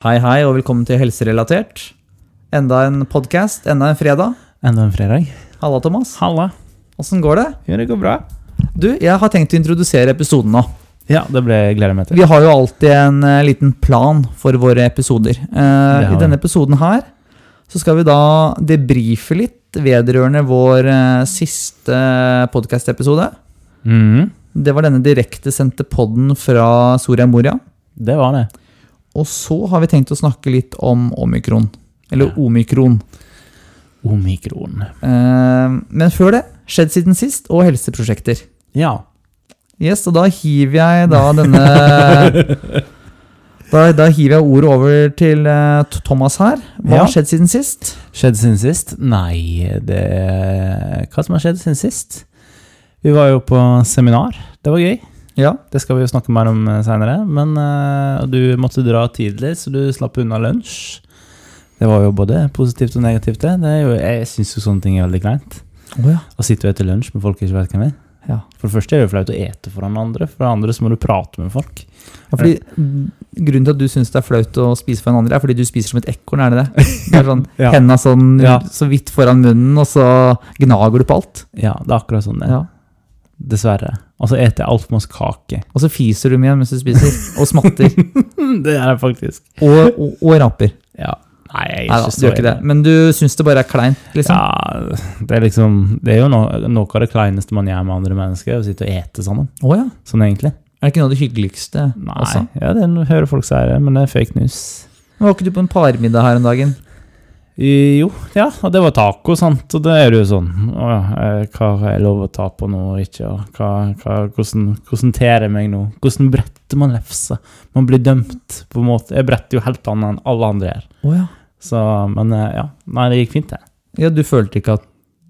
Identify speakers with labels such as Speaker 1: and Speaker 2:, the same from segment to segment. Speaker 1: Hei, hei, og velkommen til Helserelatert. Enda en podkast, enda en fredag.
Speaker 2: Enda en fredag.
Speaker 1: Halla, Thomas.
Speaker 2: Halla.
Speaker 1: Åssen går det?
Speaker 2: Ja, det går bra.
Speaker 1: Du, jeg har tenkt å introdusere episoden nå.
Speaker 2: Ja, det ble jeg gleder meg til.
Speaker 1: Vi har jo alltid en eh, liten plan for våre episoder. Eh,
Speaker 2: har
Speaker 1: I
Speaker 2: vi.
Speaker 1: denne episoden her så skal vi da debrife litt vedrørende vår eh, siste podkast-episode.
Speaker 2: Mhm.
Speaker 1: Det var denne direktesendte podden fra Soria Moria.
Speaker 2: Det var det.
Speaker 1: Og så har vi tenkt å snakke litt om omikron. Eller
Speaker 2: Ja.
Speaker 1: omikron.
Speaker 2: Omikron.
Speaker 1: Eh, men før det, skjedd siden sist, og helseprosjekter.
Speaker 2: Ja.
Speaker 1: Yes, og da hiver jeg da denne Da, da hiver jeg ordet over til eh, T- Thomas her. Hva
Speaker 2: Ja.
Speaker 1: har skjedd siden sist?
Speaker 2: Skjedd siden sist? Nei, det Hva som har skjedd siden sist? Vi var jo på seminar. Det var gøy.
Speaker 1: Ja.
Speaker 2: Det skal vi jo snakke mer om seinere. Men eh, du måtte dra tidlig, så du slapp unna lunsj. Det var jo både positivt og negativt, det. det er jo, jeg syns jo sånne ting er veldig kleint.
Speaker 1: Å ja.
Speaker 2: Å sitte og ete lunsj med folk jeg ikke vet hvem er.
Speaker 1: Ja.
Speaker 2: For det første er det jo flaut å ete foran andre, for det andre så må du prate med folk.
Speaker 1: fordi, mm, grunnen til at du syns det er flaut å spise for en andre, er fordi du spiser som et ekorn, er det det? det er sånn,
Speaker 2: Ja.
Speaker 1: Henda sånn
Speaker 2: Ja.
Speaker 1: så vidt foran munnen, og så gnager du på alt.
Speaker 2: Ja, det er akkurat sånn det er.
Speaker 1: Ja.
Speaker 2: Dessverre. Og så eter jeg altfor masse kake.
Speaker 1: Og så fiser du med mens du spiser, og smatter. Mm,
Speaker 2: det er jeg faktisk.
Speaker 1: og, og, og raper.
Speaker 2: Ja. Nei, jeg er
Speaker 1: Nei da,
Speaker 2: ikke
Speaker 1: du gjør ikke det.
Speaker 2: ille.
Speaker 1: Men du syns det bare er kleint, liksom?
Speaker 2: Ja, det er liksom Det er jo no, noe av det kleineste man gjør med andre mennesker, å sitte og ete sammen.
Speaker 1: Å ja.
Speaker 2: Sånn egentlig.
Speaker 1: Er det ikke noe av det hyggeligste?
Speaker 2: Nei,
Speaker 1: Også?
Speaker 2: ja, det er- hører folk si det, men det er fake news.
Speaker 1: Men Var ikke du på en parmiddag her om dagen?
Speaker 2: I- Jo, ja, og det var taco, sant, og det er det jo sånn. Å ja, eh, hva har jeg lov å ta på nå og ikke, og hva, hva, hvordan, hvordan ter jeg meg nå? Hvordan bretter man lefse? Man blir dømt, på en måte. Jeg bretter jo helt annet enn alle andre her.
Speaker 1: Å ja.
Speaker 2: Så, men eh, ja, nei, det gikk fint, det.
Speaker 1: Ja, du følte ikke at,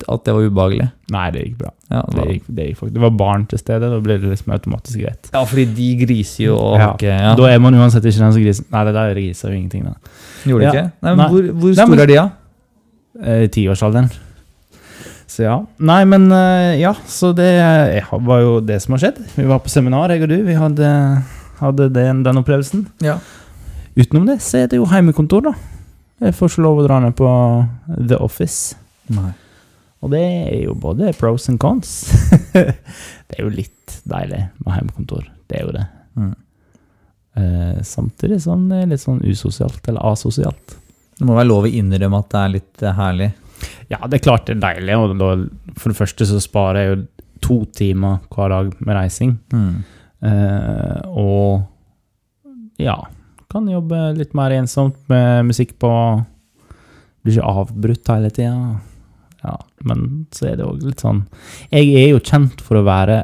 Speaker 1: at det var ubehagelig?
Speaker 2: Nei, det gikk bra.
Speaker 1: Ja,
Speaker 2: Det gikk, det gikk faktisk. Det var barn til stede, da ble det liksom automatisk greit.
Speaker 1: fordi de griser jo og
Speaker 2: Ja.
Speaker 1: har ikke ja.
Speaker 2: Da er man uansett ikke den som grisen. Nei, det der griser jo ingenting, da.
Speaker 1: Gjorde
Speaker 2: Ja.
Speaker 1: de ikke? Nei, men
Speaker 2: Nei.
Speaker 1: Hvor, hvor
Speaker 2: Nei,
Speaker 1: store
Speaker 2: men-
Speaker 1: er de, da?
Speaker 2: eh, tiårsalderen. Så ja. Nei, men eh, ja, så det eh, var jo det som har skjedd. Vi var på seminar, jeg og du. Vi hadde, hadde den, den opplevelsen.
Speaker 1: Ja.
Speaker 2: Utenom det så er det jo heimekontor, da. Jeg får ikke lov å dra ned på The Office.
Speaker 1: Nei.
Speaker 2: Og det er jo både pros and cons. det er jo litt deilig med heimekontor. Det er jo det.
Speaker 1: Mm.
Speaker 2: Eh, samtidig som det er litt sånn usosialt, eller asosialt.
Speaker 1: Det må være lov å innrømme at det er litt eh, herlig.
Speaker 2: Ja, det er klart det er deilig. Og da, for det første så sparer jeg jo to timer hver dag med reising.
Speaker 1: Hmm.
Speaker 2: Eh, og ja, kan jobbe litt mer ensomt med musikk på. Blir ikke avbrutt hele tida. Ja, men så er det òg litt sånn Jeg er jo kjent for å være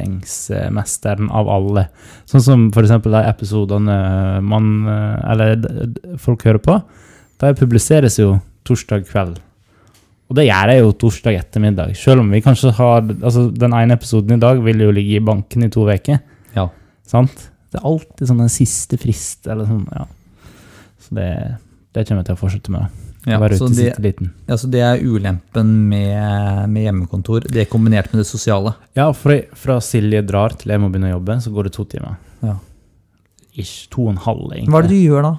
Speaker 2: prokrastineringsmesteren av alle. Sånn som f.eks. de episodene man eh, Eller d- d- folk hører på. De publiseres jo torsdag kveld. Og det gjør jeg jo torsdag ettermiddag. Selv om vi kanskje har altså Den ene episoden i dag vil jo ligge i banken i to uker.
Speaker 1: Ja.
Speaker 2: Sant? Det er alltid sånn den siste frist, eller sånn, ja. Så det, det kommer jeg til å fortsette med. da.
Speaker 1: Ja,
Speaker 2: Være
Speaker 1: så
Speaker 2: ute i
Speaker 1: det,
Speaker 2: siste liten.
Speaker 1: ja, så det er ulempen med, med hjemmekontor. Det er kombinert med det sosiale.
Speaker 2: Ja, fra, fra Silje drar til jeg må begynne å jobbe, så går det to timer.
Speaker 1: Ja.
Speaker 2: Ish. To og en halv, egentlig.
Speaker 1: Hva er det du gjør da?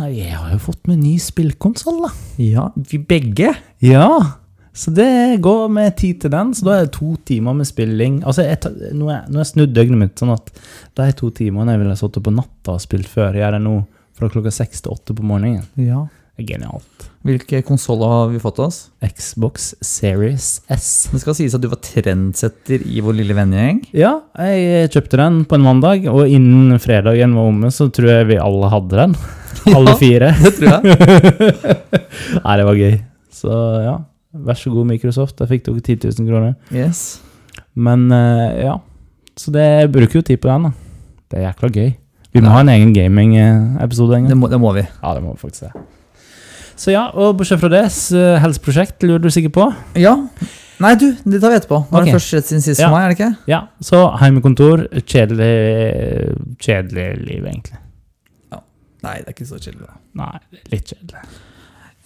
Speaker 2: Nei, jeg har jo fått meg ny spillkonsoll, da.
Speaker 1: Ja, vi begge.
Speaker 2: Ja! Så det går med tid til den, så da er det to timer med spilling. Altså, jeg tar, nå har jeg- nå har jeg snudd døgnet mitt, sånn at de to timene jeg ville ha sittet på natta og spilt før, gjør jeg nå fra klokka seks til åtte på morgenen.
Speaker 1: Ja.
Speaker 2: Det er genialt.
Speaker 1: Hvilke konsoller har vi fått oss?
Speaker 2: Xbox Series S.
Speaker 1: Det skal sies at du var trendsetter i vår lille vennegjeng.
Speaker 2: Ja, jeg eh, kjøpte den på en mandag, og innen fredagen var omme, så tror jeg vi alle hadde den. Alle fire.
Speaker 1: Det tror jeg.
Speaker 2: Nei, det var gøy. Så ja, vær så god, Microsoft. Der fikk dere 10 000 kroner.
Speaker 1: Yes.
Speaker 2: Men eh, ja, så det jeg bruker jo tid på den, da. Det er jækla gøy. Vi må ha en egen gaming-episode en gang.
Speaker 1: Det må, det må vi.
Speaker 2: Ja, det må vi faktisk se. Så ja, og bortsett fra det, så helseprosjekt lurer du sikkert på.
Speaker 1: Ja. Nei, du, det tar vi etterpå. Nå er
Speaker 2: Ok.
Speaker 1: det først rett siden sist
Speaker 2: Ja.
Speaker 1: for meg, er det ikke?
Speaker 2: Ja, så heimekontor. Kjedelig, kjedelig liv, egentlig.
Speaker 1: Nei, det er ikke så kjedelig.
Speaker 2: Nei, litt kjedelig.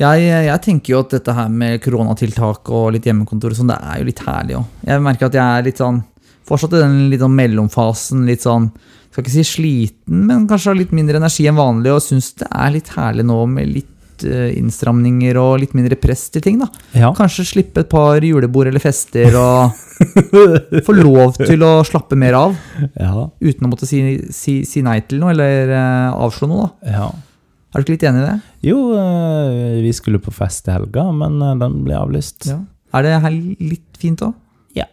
Speaker 1: Jeg, eh, jeg tenker jo at dette her med koronatiltak og litt hjemmekontor og sånn, det er jo litt herlig òg. Jeg merker at jeg er litt sånn fortsatt i den litt sånn mellomfasen. Litt sånn Skal ikke si sliten, men kanskje har litt mindre energi enn vanlig. Og syns det er litt herlig nå med litt eh, innstramninger og litt mindre press til ting. da
Speaker 2: Ja.
Speaker 1: Kanskje slippe et par julebord eller fester og få lov til å slappe mer av.
Speaker 2: ja.
Speaker 1: Uten å måtte si, si, si nei til noe eller eh, avslå noe. da
Speaker 2: ja.
Speaker 1: Er du ikke litt enig i det?
Speaker 2: Jo, eh, vi skulle på fest i helga, men eh, den ble avlyst.
Speaker 1: Ja. Er det her litt fint òg?
Speaker 2: Ja.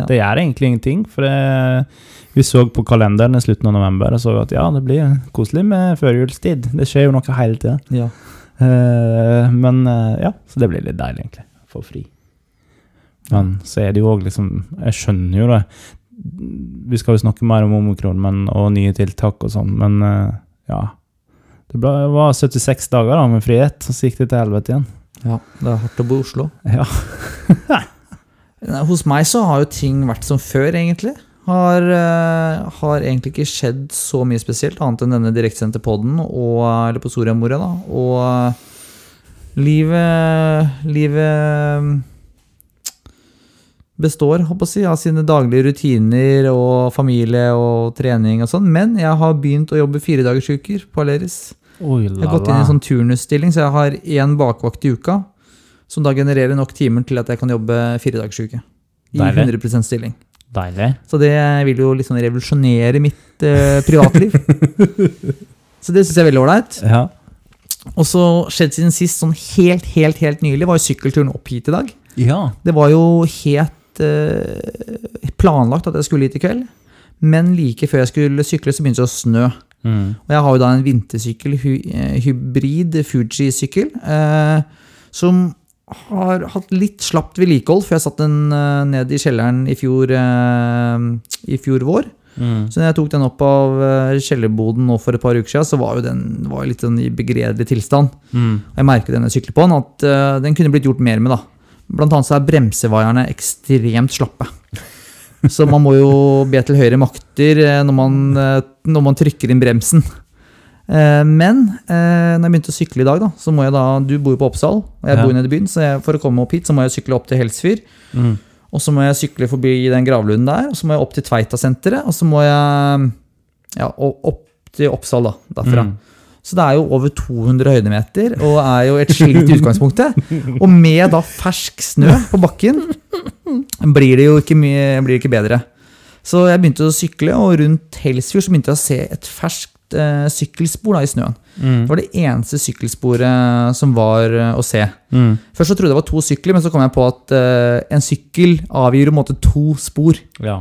Speaker 1: Ja.
Speaker 2: Det gjør egentlig ingenting, for det, vi så på kalenderen i slutten av november og så at ja, det blir koselig med førjulstid. Det skjer jo noe hele tida.
Speaker 1: Ja.
Speaker 2: Eh, men eh, ja, så det blir litt deilig, egentlig. Få fri. Men så er det jo òg liksom Jeg skjønner jo det. Vi skal jo snakke mer om omikron men, og nye tiltak og sånn, men eh, ja. Det ble, var 76 dager da med frihet, og så gikk det til helvete igjen.
Speaker 1: ja. Det er hardt å bo i Oslo.
Speaker 2: Ja.
Speaker 1: Nei, Hos meg så har jo ting vært som før, egentlig. Har, eh, har egentlig ikke skjedd så mye spesielt, annet enn denne direktsendte podden og, eller på Soria Moria, da. Og eh, livet Livet mm, består, håper jeg, å si, av sine daglige rutiner og familie og trening og sånn. Men jeg har begynt å jobbe firedagersuker på Aleris.
Speaker 2: Oi,
Speaker 1: Jeg har gått inn i en sånn turnusstilling, så jeg har én bakvakt i uka. Som da genererer nok timer til at jeg kan jobbe fire dagers uke. I
Speaker 2: Deilig.
Speaker 1: 100 stilling.
Speaker 2: Deilig.
Speaker 1: Så det vil jo liksom revolusjonere mitt eh, privatliv. så det syns jeg er veldig ålreit.
Speaker 2: Ja.
Speaker 1: Og så skjedd siden sist, sånn helt, helt, helt nylig, var jo sykkelturen opp hit i dag.
Speaker 2: ja.
Speaker 1: Det var jo helt eh, planlagt at jeg skulle hit i kveld. Men like før jeg skulle sykle, så begynte det å snø.
Speaker 2: Mm.
Speaker 1: Og jeg har jo da en vintersykkel, hy- eh, hybrid Fuji-sykkel, eh, som har hatt litt slapt vedlikehold, for jeg satte den eh, ned i kjelleren i fjor, eh, i fjor vår.
Speaker 2: Mm.
Speaker 1: Så når jeg tok den opp av eh, kjellerboden nå for et par uker siden, så var jo den var jo litt sånn i begredelig tilstand.
Speaker 2: Mm.
Speaker 1: Og jeg merket den jeg sykler på den, at eh, den kunne blitt gjort mer med, da. Blant annet så er bremsevaierne ekstremt slappe. Så man må jo be til høyre makter eh, når man, eh, når man trykker inn bremsen. Eh, Men eh, når jeg begynte å sykle i dag, da, så må jeg da Du bor jo på Oppsal, og jeg
Speaker 2: Ja.
Speaker 1: bor nede i byen, så jeg, for å komme opp hit, så må jeg sykle opp til Helsfyr.
Speaker 2: Mm.
Speaker 1: Og så må jeg sykle forbi den gravlunden der, og så må jeg opp til Tveita-senteret, og så må jeg ja, o- opp til Oppsal, da, derfra.
Speaker 2: Mm.
Speaker 1: Så det er jo over 200 høydemeter, og er jo et slikt i utgangspunktet. Og med da fersk snø på bakken, blir det jo ikke, mye, blir det ikke bedre. Så jeg begynte å sykle, og rundt Helsfjord så begynte jeg å se et ferskt eh, sykkelspor da, i snøen.
Speaker 2: Mm.
Speaker 1: Det var det eneste sykkelsporet som var eh, å se.
Speaker 2: Mm.
Speaker 1: Først så trodde jeg det var to sykler, men så kom jeg på at eh, en sykkel avgir jo på en måte to spor.
Speaker 2: Ja.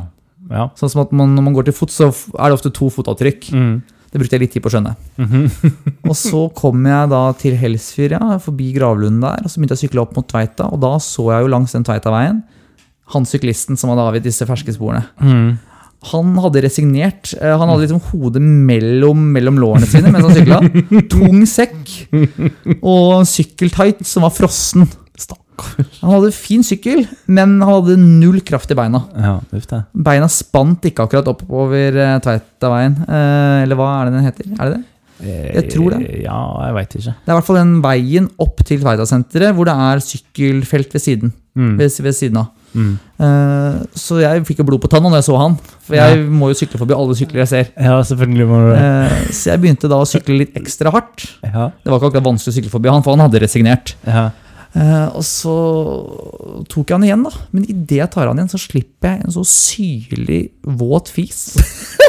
Speaker 2: Ja.
Speaker 1: Sånn som at man, når man går til fot, så f- er det ofte to fotavtrykk.
Speaker 2: Mm.
Speaker 1: Det brukte jeg litt tid på å skjønne.
Speaker 2: Mhm.
Speaker 1: Og så kom jeg da til Helsfyr, ja, forbi gravlunden der, og så begynte jeg å sykle opp mot Tveita, og da så jeg jo langs den Tveita-veien han syklisten som hadde avgitt disse ferske sporene.
Speaker 2: Mm.
Speaker 1: Han hadde resignert. eh, Han hadde liksom hodet mellom, mellom lårene sine mens han sykla. Tung sekk og sykkeltight som var frossen. Han hadde fin sykkel, men han hadde null kraft i beina.
Speaker 2: Ja, uff det.
Speaker 1: Beina spant ikke akkurat oppover eh, Tveitaveien. Eh, Eller hva er det den heter? Er det det? Jeg tror det.
Speaker 2: Eh, Ja, jeg veit ikke.
Speaker 1: Det er i hvert fall den veien opp til Tveita-senteret hvor det er sykkelfelt ved siden,
Speaker 2: Mm.
Speaker 1: ved, ved siden av.
Speaker 2: Mm.
Speaker 1: Eh, så jeg fikk jo blod på tanna når jeg så han. For jeg
Speaker 2: Ja.
Speaker 1: må jo sykle forbi alle sykler jeg ser.
Speaker 2: Ja, selvfølgelig må du det.
Speaker 1: Eh, så jeg begynte da å sykle litt ekstra hardt.
Speaker 2: Eh, Ja.
Speaker 1: Det var ikke akkurat vanskelig å sykle forbi han, for han hadde resignert.
Speaker 2: Ja.
Speaker 1: Eh, og så tok jeg han igjen, da. Men idet jeg tar han igjen, så slipper jeg en så syrlig våt fis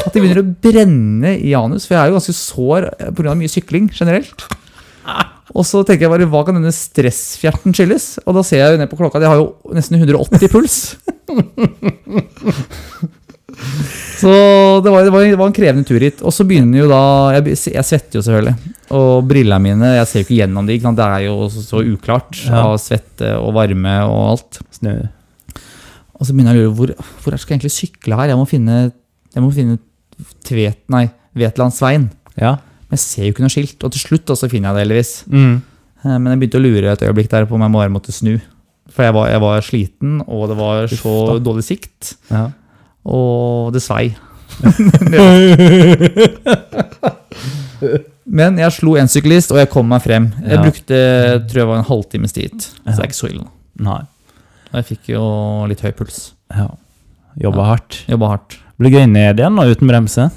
Speaker 1: at det begynner å brenne i anus. For jeg er jo ganske sår eh, pga. mye sykling generelt. Og så tenker jeg bare, hva kan denne stressfjerten skyldes? Og da ser jeg jo ned på klokka, at jeg har jo nesten 180 puls. Så det var, det, var, det var en krevende tur hit. Og så begynner jo da Jeg, be- jeg svetter jo selvfølgelig. Og brillene mine Jeg ser jo ikke gjennom de, ikke sant? Det er jo så, så uklart
Speaker 2: Ja.
Speaker 1: av svette og varme og alt.
Speaker 2: Snø.
Speaker 1: Og så begynner jeg å lure hvor, hvor skal jeg egentlig sykle her? Jeg må finne, jeg må finne tvet, nei, Vetlandsveien.
Speaker 2: Ja.
Speaker 1: Men jeg ser jo ikke noe skilt. Og til slutt da, så finner jeg det heldigvis.
Speaker 2: Mm.
Speaker 1: Eh, Men jeg begynte å lure et øyeblikk der på om jeg bare måtte snu. For jeg var, jeg var sliten, og det var så
Speaker 2: Uff
Speaker 1: dårlig sikt.
Speaker 2: Ja.
Speaker 1: Og det svei. Men jeg slo en syklist, og jeg kom meg frem. Jeg
Speaker 2: Ja.
Speaker 1: brukte tror jeg var en halvtimes tid. Så det
Speaker 2: Ja.
Speaker 1: er ikke så ille. nå.
Speaker 2: Nei.
Speaker 1: Og jeg fikk jo litt høy puls.
Speaker 2: Ja. Jobba hardt.
Speaker 1: Jobba hardt.
Speaker 2: Blir gøy ned igjen nå, uten bremse.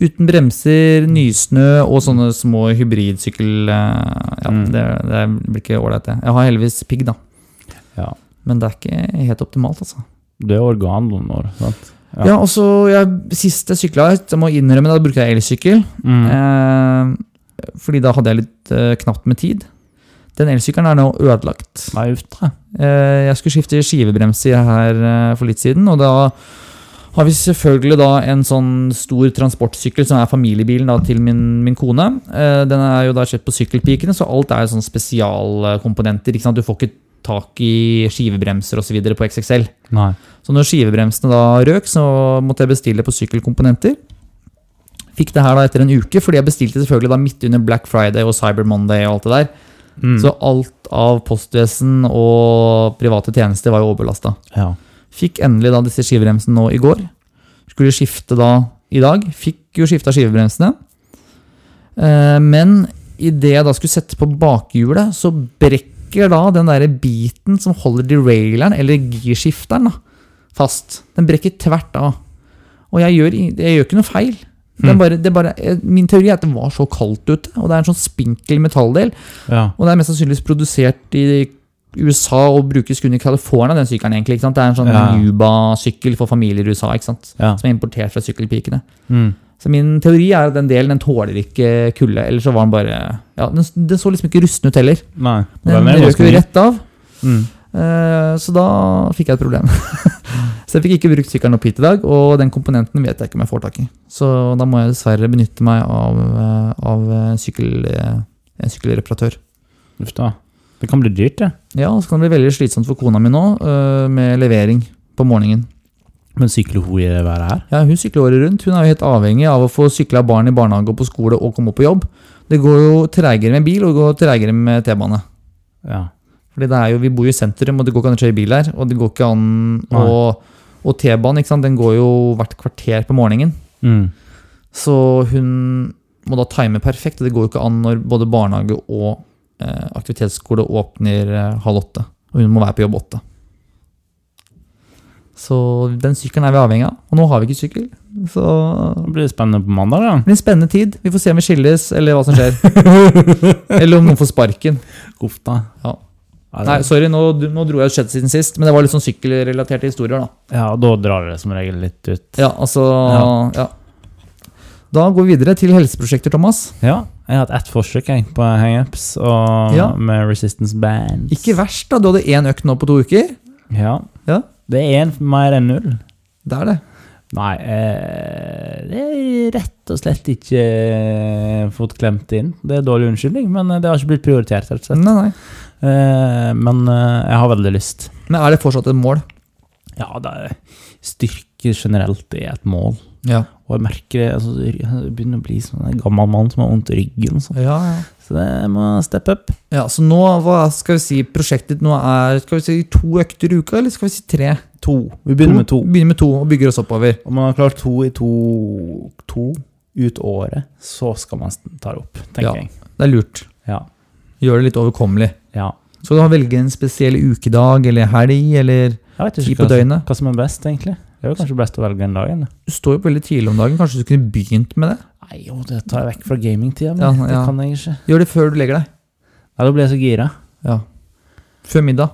Speaker 1: Uten bremser, nysnø og sånne små hybridsykkel... eh, Ja,
Speaker 2: Mm.
Speaker 1: det, det blir ikke ålreit, det. Jeg har heldigvis pigg, da.
Speaker 2: Ja.
Speaker 1: Men det er ikke helt optimalt, altså.
Speaker 2: Det er organdonor, sant? Ja.
Speaker 1: Ja, og så jeg- Sist jeg sykla, jeg må innrømme, da brukte jeg elsykkel.
Speaker 2: Mm.
Speaker 1: Eh, fordi da hadde jeg litt eh, knapt med tid. Den elsykkelen er nå ødelagt.
Speaker 2: Nei, uff da.
Speaker 1: Eh, jeg skulle skifte skivebremser her eh, for litt siden, og da har vi selvfølgelig da en sånn stor transportsykkel som er familiebilen da til min, min kone. Eh, den er jo da kjøpt på Sykkelpikene, så alt er jo sånn spesialkomponenter. ikke sant? Du får ikke tak i skivebremser osv. på XXL.
Speaker 2: Nei.
Speaker 1: Så når skivebremsene da røk, så måtte jeg bestille på sykkelkomponenter. Fikk det her da etter en uke, fordi jeg bestilte selvfølgelig da midt under Black Friday og Cyber Monday. og alt det der.
Speaker 2: Mm.
Speaker 1: Så alt av postvesen og private tjenester var jo overbelasta.
Speaker 2: Ja.
Speaker 1: Fikk endelig da disse skivebremsene nå i går. Skulle skifte da i dag. Fikk jo skifta skivebremsene. Eh, Men idet jeg da skulle sette på bakhjulet, så brekker da den derre biten som holder deraileren, eller girskifteren, da, fast. Den brekker tvert av. Og jeg gjør, ing- jeg gjør ikke noe feil. Det er
Speaker 2: Mm.
Speaker 1: bare, det er bare, eh, min teori er at det var så kaldt ute, og det er en sånn spinkel metalldel.
Speaker 2: ja.
Speaker 1: Og det er mest sannsynligvis produsert i USA og brukes kun i California, den sykkelen egentlig. ikke sant? Det er en sånn
Speaker 2: Ja.
Speaker 1: Juba-sykkel for familier i USA, ikke sant?
Speaker 2: Ja.
Speaker 1: som er importert fra sykkelpikene.
Speaker 2: Mm.
Speaker 1: Så min teori er at den delen den tåler ikke kulde, eller så var den bare Ja, den, den så liksom ikke rusten ut heller.
Speaker 2: Nei.
Speaker 1: Den
Speaker 2: Den er
Speaker 1: røk
Speaker 2: ganske
Speaker 1: jo
Speaker 2: ny.
Speaker 1: rett av,
Speaker 2: Mm.
Speaker 1: eh, så da fikk jeg et problem. så jeg fikk ikke brukt sykkelen opp hit i dag, og den komponenten vet jeg ikke om jeg får tak i. Så da må jeg dessverre benytte meg av, eh, av en sykkel, eh, en sykkelreparatør.
Speaker 2: Uff da. Det kan bli dyrt, det.
Speaker 1: Ja, og så kan det bli veldig slitsomt for kona mi nå, øh, med levering på morgenen.
Speaker 2: Men sykler hun i det været her?
Speaker 1: Ja, Hun sykler året rundt. Hun er jo helt avhengig av å få sykla barn i barnehage og på skole og komme opp på jobb. Det går jo treigere med bil, og det går treigere med T-bane.
Speaker 2: Ja.
Speaker 1: Fordi det er jo, Vi bor jo i sentrum, og det går ikke an å kjøre bil her. Og det går ikke an
Speaker 2: Nei.
Speaker 1: å Og T-banen ikke sant? Den går jo hvert kvarter på morgenen.
Speaker 2: Mm.
Speaker 1: Så hun må da time perfekt, og det går jo ikke an når både barnehage og eh, aktivitetsskole åpner eh, halv åtte. Og hun må være på jobb åtte. Så den sykkelen er vi avhengig av. Og nå har vi ikke sykkel. Så
Speaker 2: Da blir det spennende på mandag, da.
Speaker 1: det blir en spennende tid. Vi får se om vi skilles, eller hva som skjer. eller om noen får sparken.
Speaker 2: Uff da.
Speaker 1: Ja.
Speaker 2: Ja, det-
Speaker 1: Nei, sorry, nå, nå dro jeg ut skjedd siden sist, men det var litt sånn sykkelrelaterte historier, da.
Speaker 2: ja, da drar det som regel litt ut.
Speaker 1: Ja, altså Ja. Da går vi videre til helseprosjekter, Thomas.
Speaker 2: Ja, jeg har hatt ett forsøk jeg, på hangups og
Speaker 1: Ja.
Speaker 2: med resistance bands.
Speaker 1: Ikke verst, da. Du hadde én økt nå på to uker.
Speaker 2: Ja.
Speaker 1: Ja.
Speaker 2: Det er en mer enn null.
Speaker 1: Det er det.
Speaker 2: Nei, eh, det er rett og slett ikke eh, fått klemt inn. Det er dårlig unnskyldning, men eh, det har ikke blitt prioritert, rett og slett.
Speaker 1: Nei, nei.
Speaker 2: Eh, men eh, jeg har veldig lyst.
Speaker 1: Men er det fortsatt et mål?
Speaker 2: Ja, det er styrke generelt er et mål.
Speaker 1: Ja.
Speaker 2: Og jeg merker det, altså, jeg begynner å bli sånn en gammel mann som har vondt i ryggen. og sånn.
Speaker 1: ja,
Speaker 2: Så det må steppe opp.
Speaker 1: Så nå, hva skal vi si, prosjektet nå er skal vi si to økter i uka, eller skal vi si tre?
Speaker 2: To. Vi begynner med to.
Speaker 1: Begynner med to og bygger oss oppover.
Speaker 2: Om man har klart to i to, to ut året, så skal man ta det opp, tenker
Speaker 1: Ja.
Speaker 2: jeg.
Speaker 1: Det er lurt.
Speaker 2: Ja.
Speaker 1: Gjør det litt overkommelig.
Speaker 2: ja.
Speaker 1: Så du har velge en spesiell ukedag eller helg eller
Speaker 2: Jeg vet
Speaker 1: tid på
Speaker 2: ikke hva,
Speaker 1: døgnet.
Speaker 2: hva som er best, egentlig. Det er jo kanskje best å velge en dag. Eller?
Speaker 1: Du står jo opp veldig tidlig om dagen, kanskje du kunne begynt med det?
Speaker 2: Nei, jo, det tar jeg vekk fra gamingtida. men
Speaker 1: Ja,
Speaker 2: Det
Speaker 1: ja.
Speaker 2: kan jeg ikke.
Speaker 1: Gjør det før du legger deg.
Speaker 2: Nei, da blir jeg så gira.
Speaker 1: Ja. Før middag.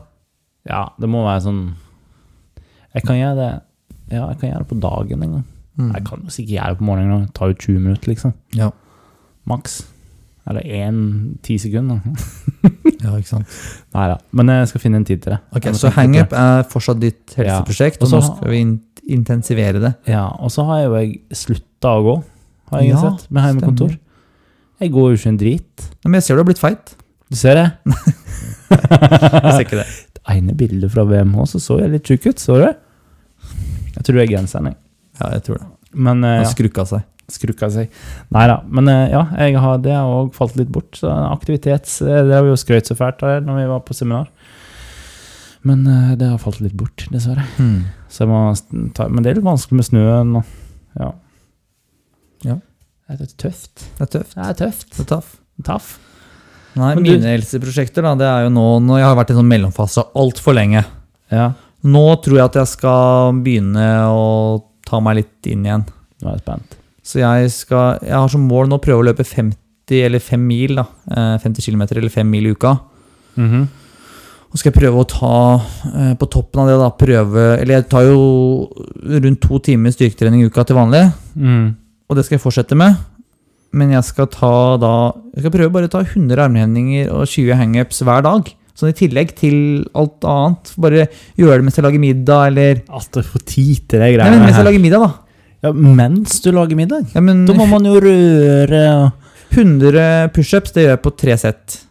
Speaker 2: Ja, det må være sånn Jeg kan gjøre det Ja, jeg kan gjøre det på dagen en gang.
Speaker 1: Mm.
Speaker 2: Jeg kan jo sikkert gjøre det på morgenen. og Det tar jo 20 minutter, liksom.
Speaker 1: Ja.
Speaker 2: Maks. Eller én ti sekunder.
Speaker 1: ja, ikke sant.
Speaker 2: Nei da. Men jeg skal finne en tid til det.
Speaker 1: Ok,
Speaker 2: Jeg må
Speaker 1: Så
Speaker 2: tenke på det.
Speaker 1: hangup er fortsatt ditt
Speaker 2: Ja.
Speaker 1: helseprosjekt,
Speaker 2: Og
Speaker 1: og
Speaker 2: så
Speaker 1: nå
Speaker 2: ha-
Speaker 1: skal vi in- intensivere det.
Speaker 2: Ja, og så har jo jeg slutta å gå, har jeg
Speaker 1: Ja,
Speaker 2: sett, med hjemmekontor.
Speaker 1: stemmer.
Speaker 2: Jeg går jo ikke en drit.
Speaker 1: Nei, Men jeg ser du har blitt feit.
Speaker 2: Du ser det?
Speaker 1: Jeg ser ikke det.
Speaker 2: Det ene bildet fra VMH, så så jeg litt tjukk ut, så du? Jeg tror det er genseren, jeg.
Speaker 1: Ja, jeg tror det.
Speaker 2: Men eh,
Speaker 1: Han
Speaker 2: ja,
Speaker 1: skrukka seg.
Speaker 2: skrukka seg. Nei da. Men eh, ja, jeg har det òg falt litt bort. Så aktivitet eh, Det har vi jo skrøyt så fælt av når vi var på seminar. Men eh, det har falt litt bort, dessverre. Så jeg må st- ta, men det er litt vanskelig med snøen og Ja.
Speaker 1: Ja.
Speaker 2: Det er tøft.
Speaker 1: Det er tøft.
Speaker 2: Det er tøft.
Speaker 1: Det er tøft.
Speaker 2: Taff.
Speaker 1: Nei,
Speaker 2: Men du-
Speaker 1: mine helseprosjekter da, det er jo nå når jeg har vært i sånn mellomfase altfor lenge.
Speaker 2: Ja.
Speaker 1: Nå tror jeg at jeg skal begynne å ta meg litt inn igjen.
Speaker 2: Nå er jeg spent.
Speaker 1: Så jeg, skal, jeg har som mål nå å prøve å løpe 50 eller 5 mil, da. Eh, 50 km eller 5 mil i uka.
Speaker 2: Mhm.
Speaker 1: Og skal jeg prøve å ta, eh, på toppen av det, da, prøve Eller jeg tar jo rundt to timer styrketrening i uka til vanlig,
Speaker 2: Mm.
Speaker 1: og det skal jeg fortsette med. Men jeg skal ta da Jeg skal prøve bare å ta 100 armhendinger og 20 hangups hver dag. Sånn i tillegg til alt annet. Bare gjøre det mens jeg lager middag, eller
Speaker 2: At du får tid til de
Speaker 1: Nei,
Speaker 2: greiene
Speaker 1: men mens jeg lager middag, da.
Speaker 2: Ja, mens du lager middag?
Speaker 1: Ja, men
Speaker 2: Da må man jo røre og
Speaker 1: 100 pushups, det gjør jeg på tre sett.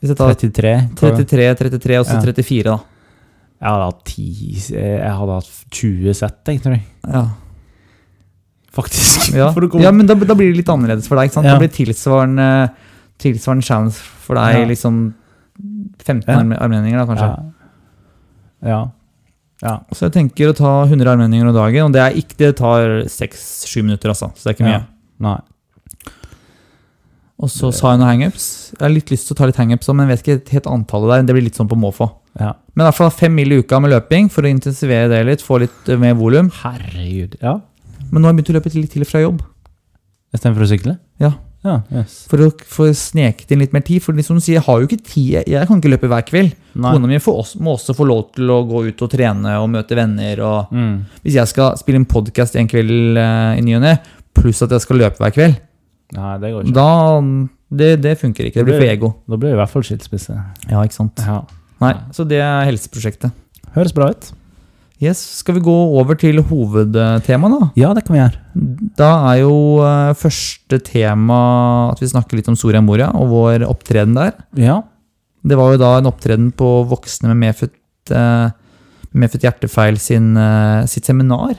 Speaker 1: Hvis jeg tar
Speaker 2: 33. tror jeg.
Speaker 1: 33, 33 og så
Speaker 2: Ja.
Speaker 1: 34, da.
Speaker 2: Jeg hadde hatt 10 Jeg hadde hatt 20 sett, jeg tror jeg.
Speaker 1: Ja,
Speaker 2: Faktisk.
Speaker 1: ja.
Speaker 2: For å komme-
Speaker 1: ja men da, da blir det litt annerledes for deg. ikke sant?
Speaker 2: Ja.
Speaker 1: Da blir det tilsvarende, tilsvarende challenge for deg,
Speaker 2: Ja.
Speaker 1: liksom 15
Speaker 2: Ja.
Speaker 1: arm- armlendinger, da, kanskje.
Speaker 2: Ja. ja.
Speaker 1: Så jeg tenker å ta 100 armlendinger om dagen, og det, er ikke, det tar 6-7 minutter, altså. Så det er ikke mye.
Speaker 2: Ja. Nei.
Speaker 1: Og så sa jeg noen hangups. Jeg har litt lyst til å ta litt hangups òg, men jeg vet ikke helt antallet der. Det blir litt sånn på måfå.
Speaker 2: Ja.
Speaker 1: Men i hvert fall fem mil i uka med løping for å intensivere det litt, få litt eh, mer volum.
Speaker 2: Herregud. Ja.
Speaker 1: Men nå har jeg begynt å løpe litt til og fra jobb.
Speaker 2: Istedenfor å sykle?
Speaker 1: Ja.
Speaker 2: Ja, yes.
Speaker 1: For å få sneket inn litt mer tid. For de som sier, jeg har jo ikke tid. Jeg- Jeg kan ikke løpe hver kveld.
Speaker 2: Nei.
Speaker 1: Kona mi får også, må også få lov til å gå ut og trene og møte venner. Og
Speaker 2: Mm.
Speaker 1: hvis jeg skal spille en podkast en kveld eh, i ny og ne, pluss at jeg skal løpe hver kveld,
Speaker 2: Nei, det går ikke.
Speaker 1: da det, det funker ikke. Det blir for ego.
Speaker 2: Da blir det i hvert fall skilsmisse.
Speaker 1: Ja, ikke sant?
Speaker 2: Ja.
Speaker 1: Nei, Så det er helseprosjektet.
Speaker 2: Høres bra ut.
Speaker 1: Yes, Skal vi gå over til hovedtemaet, da?
Speaker 2: Ja, det kan vi gjøre.
Speaker 1: Da er jo eh, første tema at vi snakker litt om Soria Moria og vår opptreden der.
Speaker 2: Ja.
Speaker 1: Det var jo da en opptreden på voksne med medfødt, eh, medfødt hjertefeil sin, eh, sitt seminar.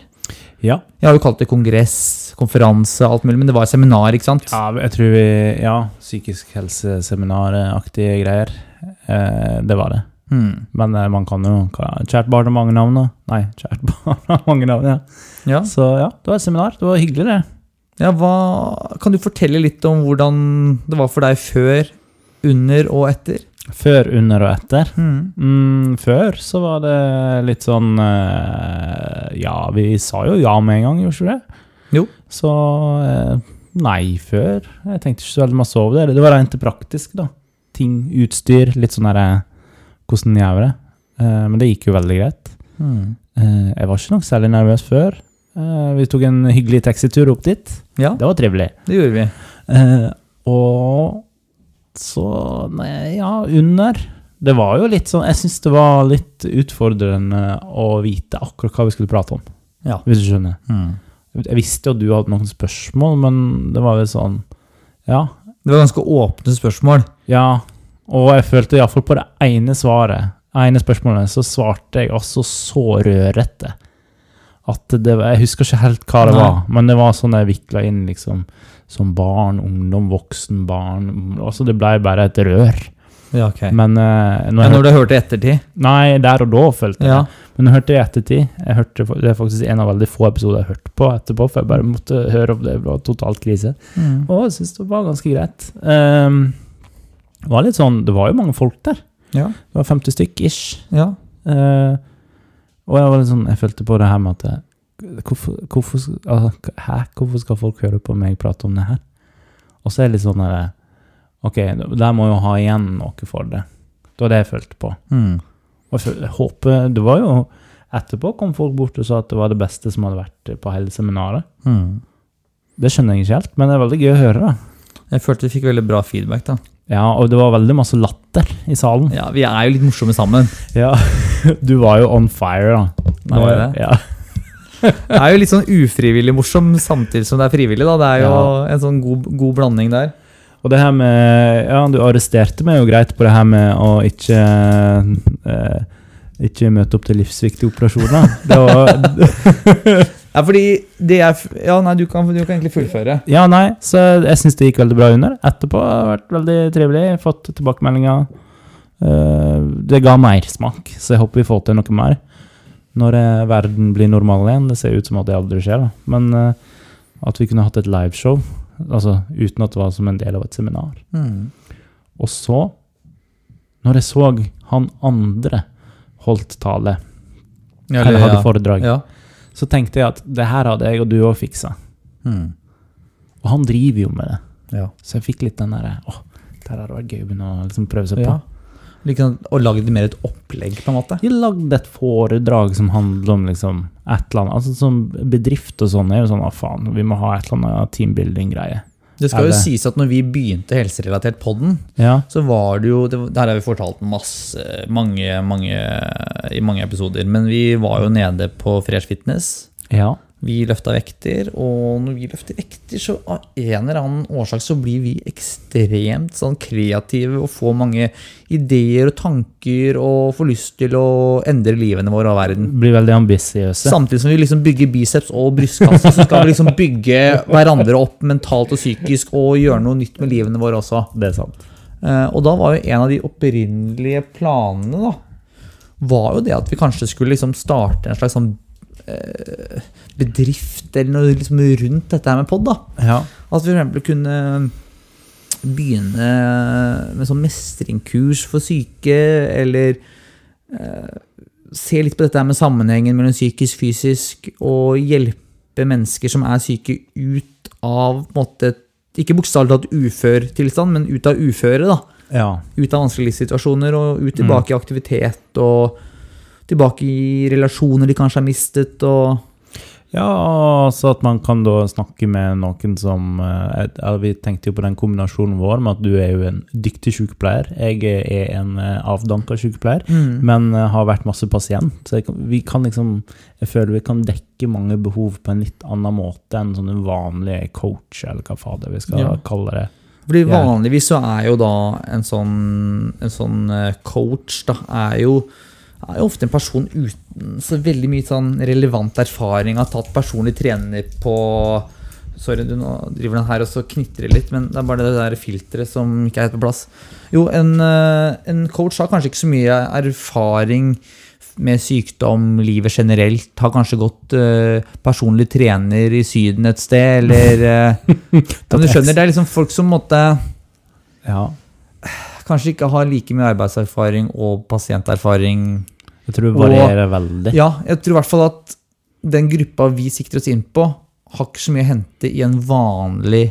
Speaker 2: Ja.
Speaker 1: Jeg har jo kalt det kongress, konferanse, alt mulig, men det var seminar, ikke sant?
Speaker 2: Ja, jeg tror vi Ja, psykisk helse-seminaraktige greier. Eh, det var det.
Speaker 1: Hmm.
Speaker 2: Men eh, man kan jo hva- Kjært barn har mange navn, da. Nei, kjært barn har mange navn, ja.
Speaker 1: Ja.
Speaker 2: Så ja, det var et seminar. Det var hyggelig, det.
Speaker 1: ja, hva Kan du fortelle litt om hvordan det var for deg før, under og etter?
Speaker 2: Før, under og etter.
Speaker 1: Hmm.
Speaker 2: Mm, før så var det litt sånn eh, Ja, vi sa jo ja med en gang, gjorde ikke vi det?
Speaker 1: Jo.
Speaker 2: Så eh, nei før. Jeg tenkte ikke så veldig masse over det. Det var rent praktisk, da. Ting, utstyr, litt sånn derre Hvordan gjør vi det? Eh, men det gikk jo veldig greit.
Speaker 1: Hmm.
Speaker 2: Eh, jeg var ikke noe særlig nervøs før. Eh, vi tok en hyggelig taxitur opp dit.
Speaker 1: Ja,
Speaker 2: Det var trivelig.
Speaker 1: det gjorde vi.
Speaker 2: Eh, og så Nei, ja, under. Det var jo litt sånn Jeg syns det var litt utfordrende å vite akkurat hva vi skulle prate om.
Speaker 1: Ja.
Speaker 2: Hvis du skjønner.
Speaker 1: Hmm.
Speaker 2: Jeg visste jo at du hadde noen spørsmål, men det var vel sånn Ja.
Speaker 1: Det var ganske åpne spørsmål.
Speaker 2: Ja. Og jeg følte iallfall på det ene svaret, ene spørsmålet, så svarte jeg altså så rørete at det var Jeg husker ikke helt hva det
Speaker 1: Nei.
Speaker 2: var, men det var sånn jeg vikla inn liksom som barn, ungdom, voksen, barn Altså, det blei bare et rør.
Speaker 1: Ja, ok.
Speaker 2: Men eh, når
Speaker 1: Ja,
Speaker 2: jeg
Speaker 1: når
Speaker 2: hørte,
Speaker 1: du hørte i ettertid?
Speaker 2: Nei, der og da følte jeg
Speaker 1: Ja.
Speaker 2: det. Men jeg hørte det i ettertid. Jeg hørte, det er faktisk en av veldig få episoder jeg hørte på etterpå, for jeg bare måtte høre om det. Det var totalt krise.
Speaker 1: Hmm.
Speaker 2: Og jeg syns det var ganske greit. Ehm, det var litt sånn, det var jo mange folk der.
Speaker 1: Ja.
Speaker 2: Det var 50 stykk ish.
Speaker 1: ja.
Speaker 2: Eh, og jeg var litt sånn, jeg følte på det her med at jeg, hvorfor, hvorfor, sk- altså, hæ, hvorfor skal folk høre på meg prate om det her? Og så er det litt sånn der, ok, der må jeg jo ha igjen noe for det. Det var det jeg følte på.
Speaker 1: Hmm.
Speaker 2: Og jeg, føl- jeg håper, det var jo, etterpå kom folk bort og sa at det var det beste som hadde vært på hele seminaret.
Speaker 1: Hmm.
Speaker 2: Det skjønner jeg ikke helt, men det er veldig gøy å høre da.
Speaker 1: Jeg følte vi fikk veldig bra feedback, da.
Speaker 2: Ja, og det var veldig masse latter i salen.
Speaker 1: Ja, Vi er jo litt morsomme sammen.
Speaker 2: Ja, Du var jo on fire, da. Eh,
Speaker 1: Da var jeg det.
Speaker 2: Ja.
Speaker 1: Det er jo litt sånn ufrivillig morsom samtidig som det er frivillig. da. Det er jo
Speaker 2: Ja.
Speaker 1: en sånn god, god blanding der.
Speaker 2: Og det her med Ja, du arresterte meg jo greit på det her med å ikke eh, Ikke møte opp til livsviktige operasjoner. Det var,
Speaker 1: Ja, fordi det er f- Ja, nei, du kan, du kan egentlig fullføre.
Speaker 2: ja, nei, så jeg syns det gikk veldig bra under. Etterpå har det vært veldig trivelig. Fått tilbakemeldinger. Eh, det ga mersmak, så jeg håper vi får til noe mer når eh, verden blir normal igjen. Det ser ut som at det aldri skjer, da. Men eh, at vi kunne hatt et liveshow, altså uten at det var som en del av et seminar.
Speaker 1: Hmm.
Speaker 2: Og så, når jeg så han andre holdt tale
Speaker 1: Ja,
Speaker 2: eller hadde
Speaker 1: ja.
Speaker 2: foredrag.
Speaker 1: Ja.
Speaker 2: Så tenkte jeg at det her hadde jeg og du òg fiksa.
Speaker 1: Mm.
Speaker 2: Og han driver jo med det.
Speaker 1: ja.
Speaker 2: Så jeg fikk litt den derre Å, det her hadde vært gøy å begynne å liksom prøve seg på.
Speaker 1: ja. Liksom, og lagd mer et opplegg, på en måte.
Speaker 2: De lagde et foredrag som handler om liksom et eller annet. Altså Som bedrift og sånn er jo sånn ah, faen, vi må ha et eller annet teambuilding-greie.
Speaker 1: Det skal
Speaker 2: Er
Speaker 1: jo
Speaker 2: det-
Speaker 1: sies at når vi begynte helserelatert podden,
Speaker 2: Ja.
Speaker 1: så var det jo det, det her har vi fortalt masse, mange, mange, i mange episoder, men vi var jo nede på Fresh Fitness.
Speaker 2: ja.
Speaker 1: Vi løfta vekter, og når vi løfter vekter, så av en eller annen årsak så blir vi ekstremt sånn kreative og får mange ideer og tanker og får lyst til å endre livene våre og verden.
Speaker 2: Blir veldig ambisiøse.
Speaker 1: Samtidig som vi liksom bygger biceps og brystkasse, så skal vi liksom bygge hverandre opp mentalt og psykisk og gjøre noe nytt med livene våre også.
Speaker 2: Det er sant.
Speaker 1: Eh, Og da var jo en av de opprinnelige planene da, var jo det at vi kanskje skulle liksom starte en slags sånn eh, bedrift eller noe liksom rundt dette her med pod. da.
Speaker 2: Ja.
Speaker 1: At vi for eksempel kunne begynne med sånn mestringkurs for syke, eller eh, se litt på dette her med sammenhengen mellom psykisk-fysisk, og hjelpe mennesker som er syke ut av på en måte, Ikke bokstavelig talt ufør tilstand, men ut av uføre. da
Speaker 2: ja.
Speaker 1: ut av vanskelige livssituasjoner og ut tilbake i aktivitet og tilbake i relasjoner de kanskje har mistet. og
Speaker 2: Ja, altså at man kan da snakke med noen som eh, et- ja, Vi tenkte jo på den kombinasjonen vår med at du er jo en dyktig sykepleier. Jeg er en eh, avdanka sykepleier,
Speaker 1: Mm.
Speaker 2: men eh, har vært masse pasient. Så jeg kan, vi kan liksom Jeg føler vi kan dekke mange behov på en litt annen måte enn sånne vanlige coach, eller hva fader vi skal
Speaker 1: Ja.
Speaker 2: kalle det.
Speaker 1: Fordi
Speaker 2: Ja.
Speaker 1: Vanligvis så er jo da en sånn, en sånn eh, coach da, er jo, er jo ofte en person uten så veldig mye sånn relevant erfaring. Har tatt personlig trener på Sorry, du nå driver den her og så knitrer det litt, men det er bare det der filteret som ikke er helt på plass. Jo, en, eh, en coach har kanskje ikke så mye erfaring med sykdom, livet generelt. Har kanskje gått eh, personlig trener i Syden et sted, eller eh, ja, men du skjønner, det er liksom folk som måtte
Speaker 2: Ja.
Speaker 1: kanskje ikke har like mye arbeidserfaring og pasienterfaring.
Speaker 2: Jeg tror det varierer veldig.
Speaker 1: Ja, jeg tror i hvert fall at den gruppa vi sikter oss inn på, har ikke så mye å hente i en vanlig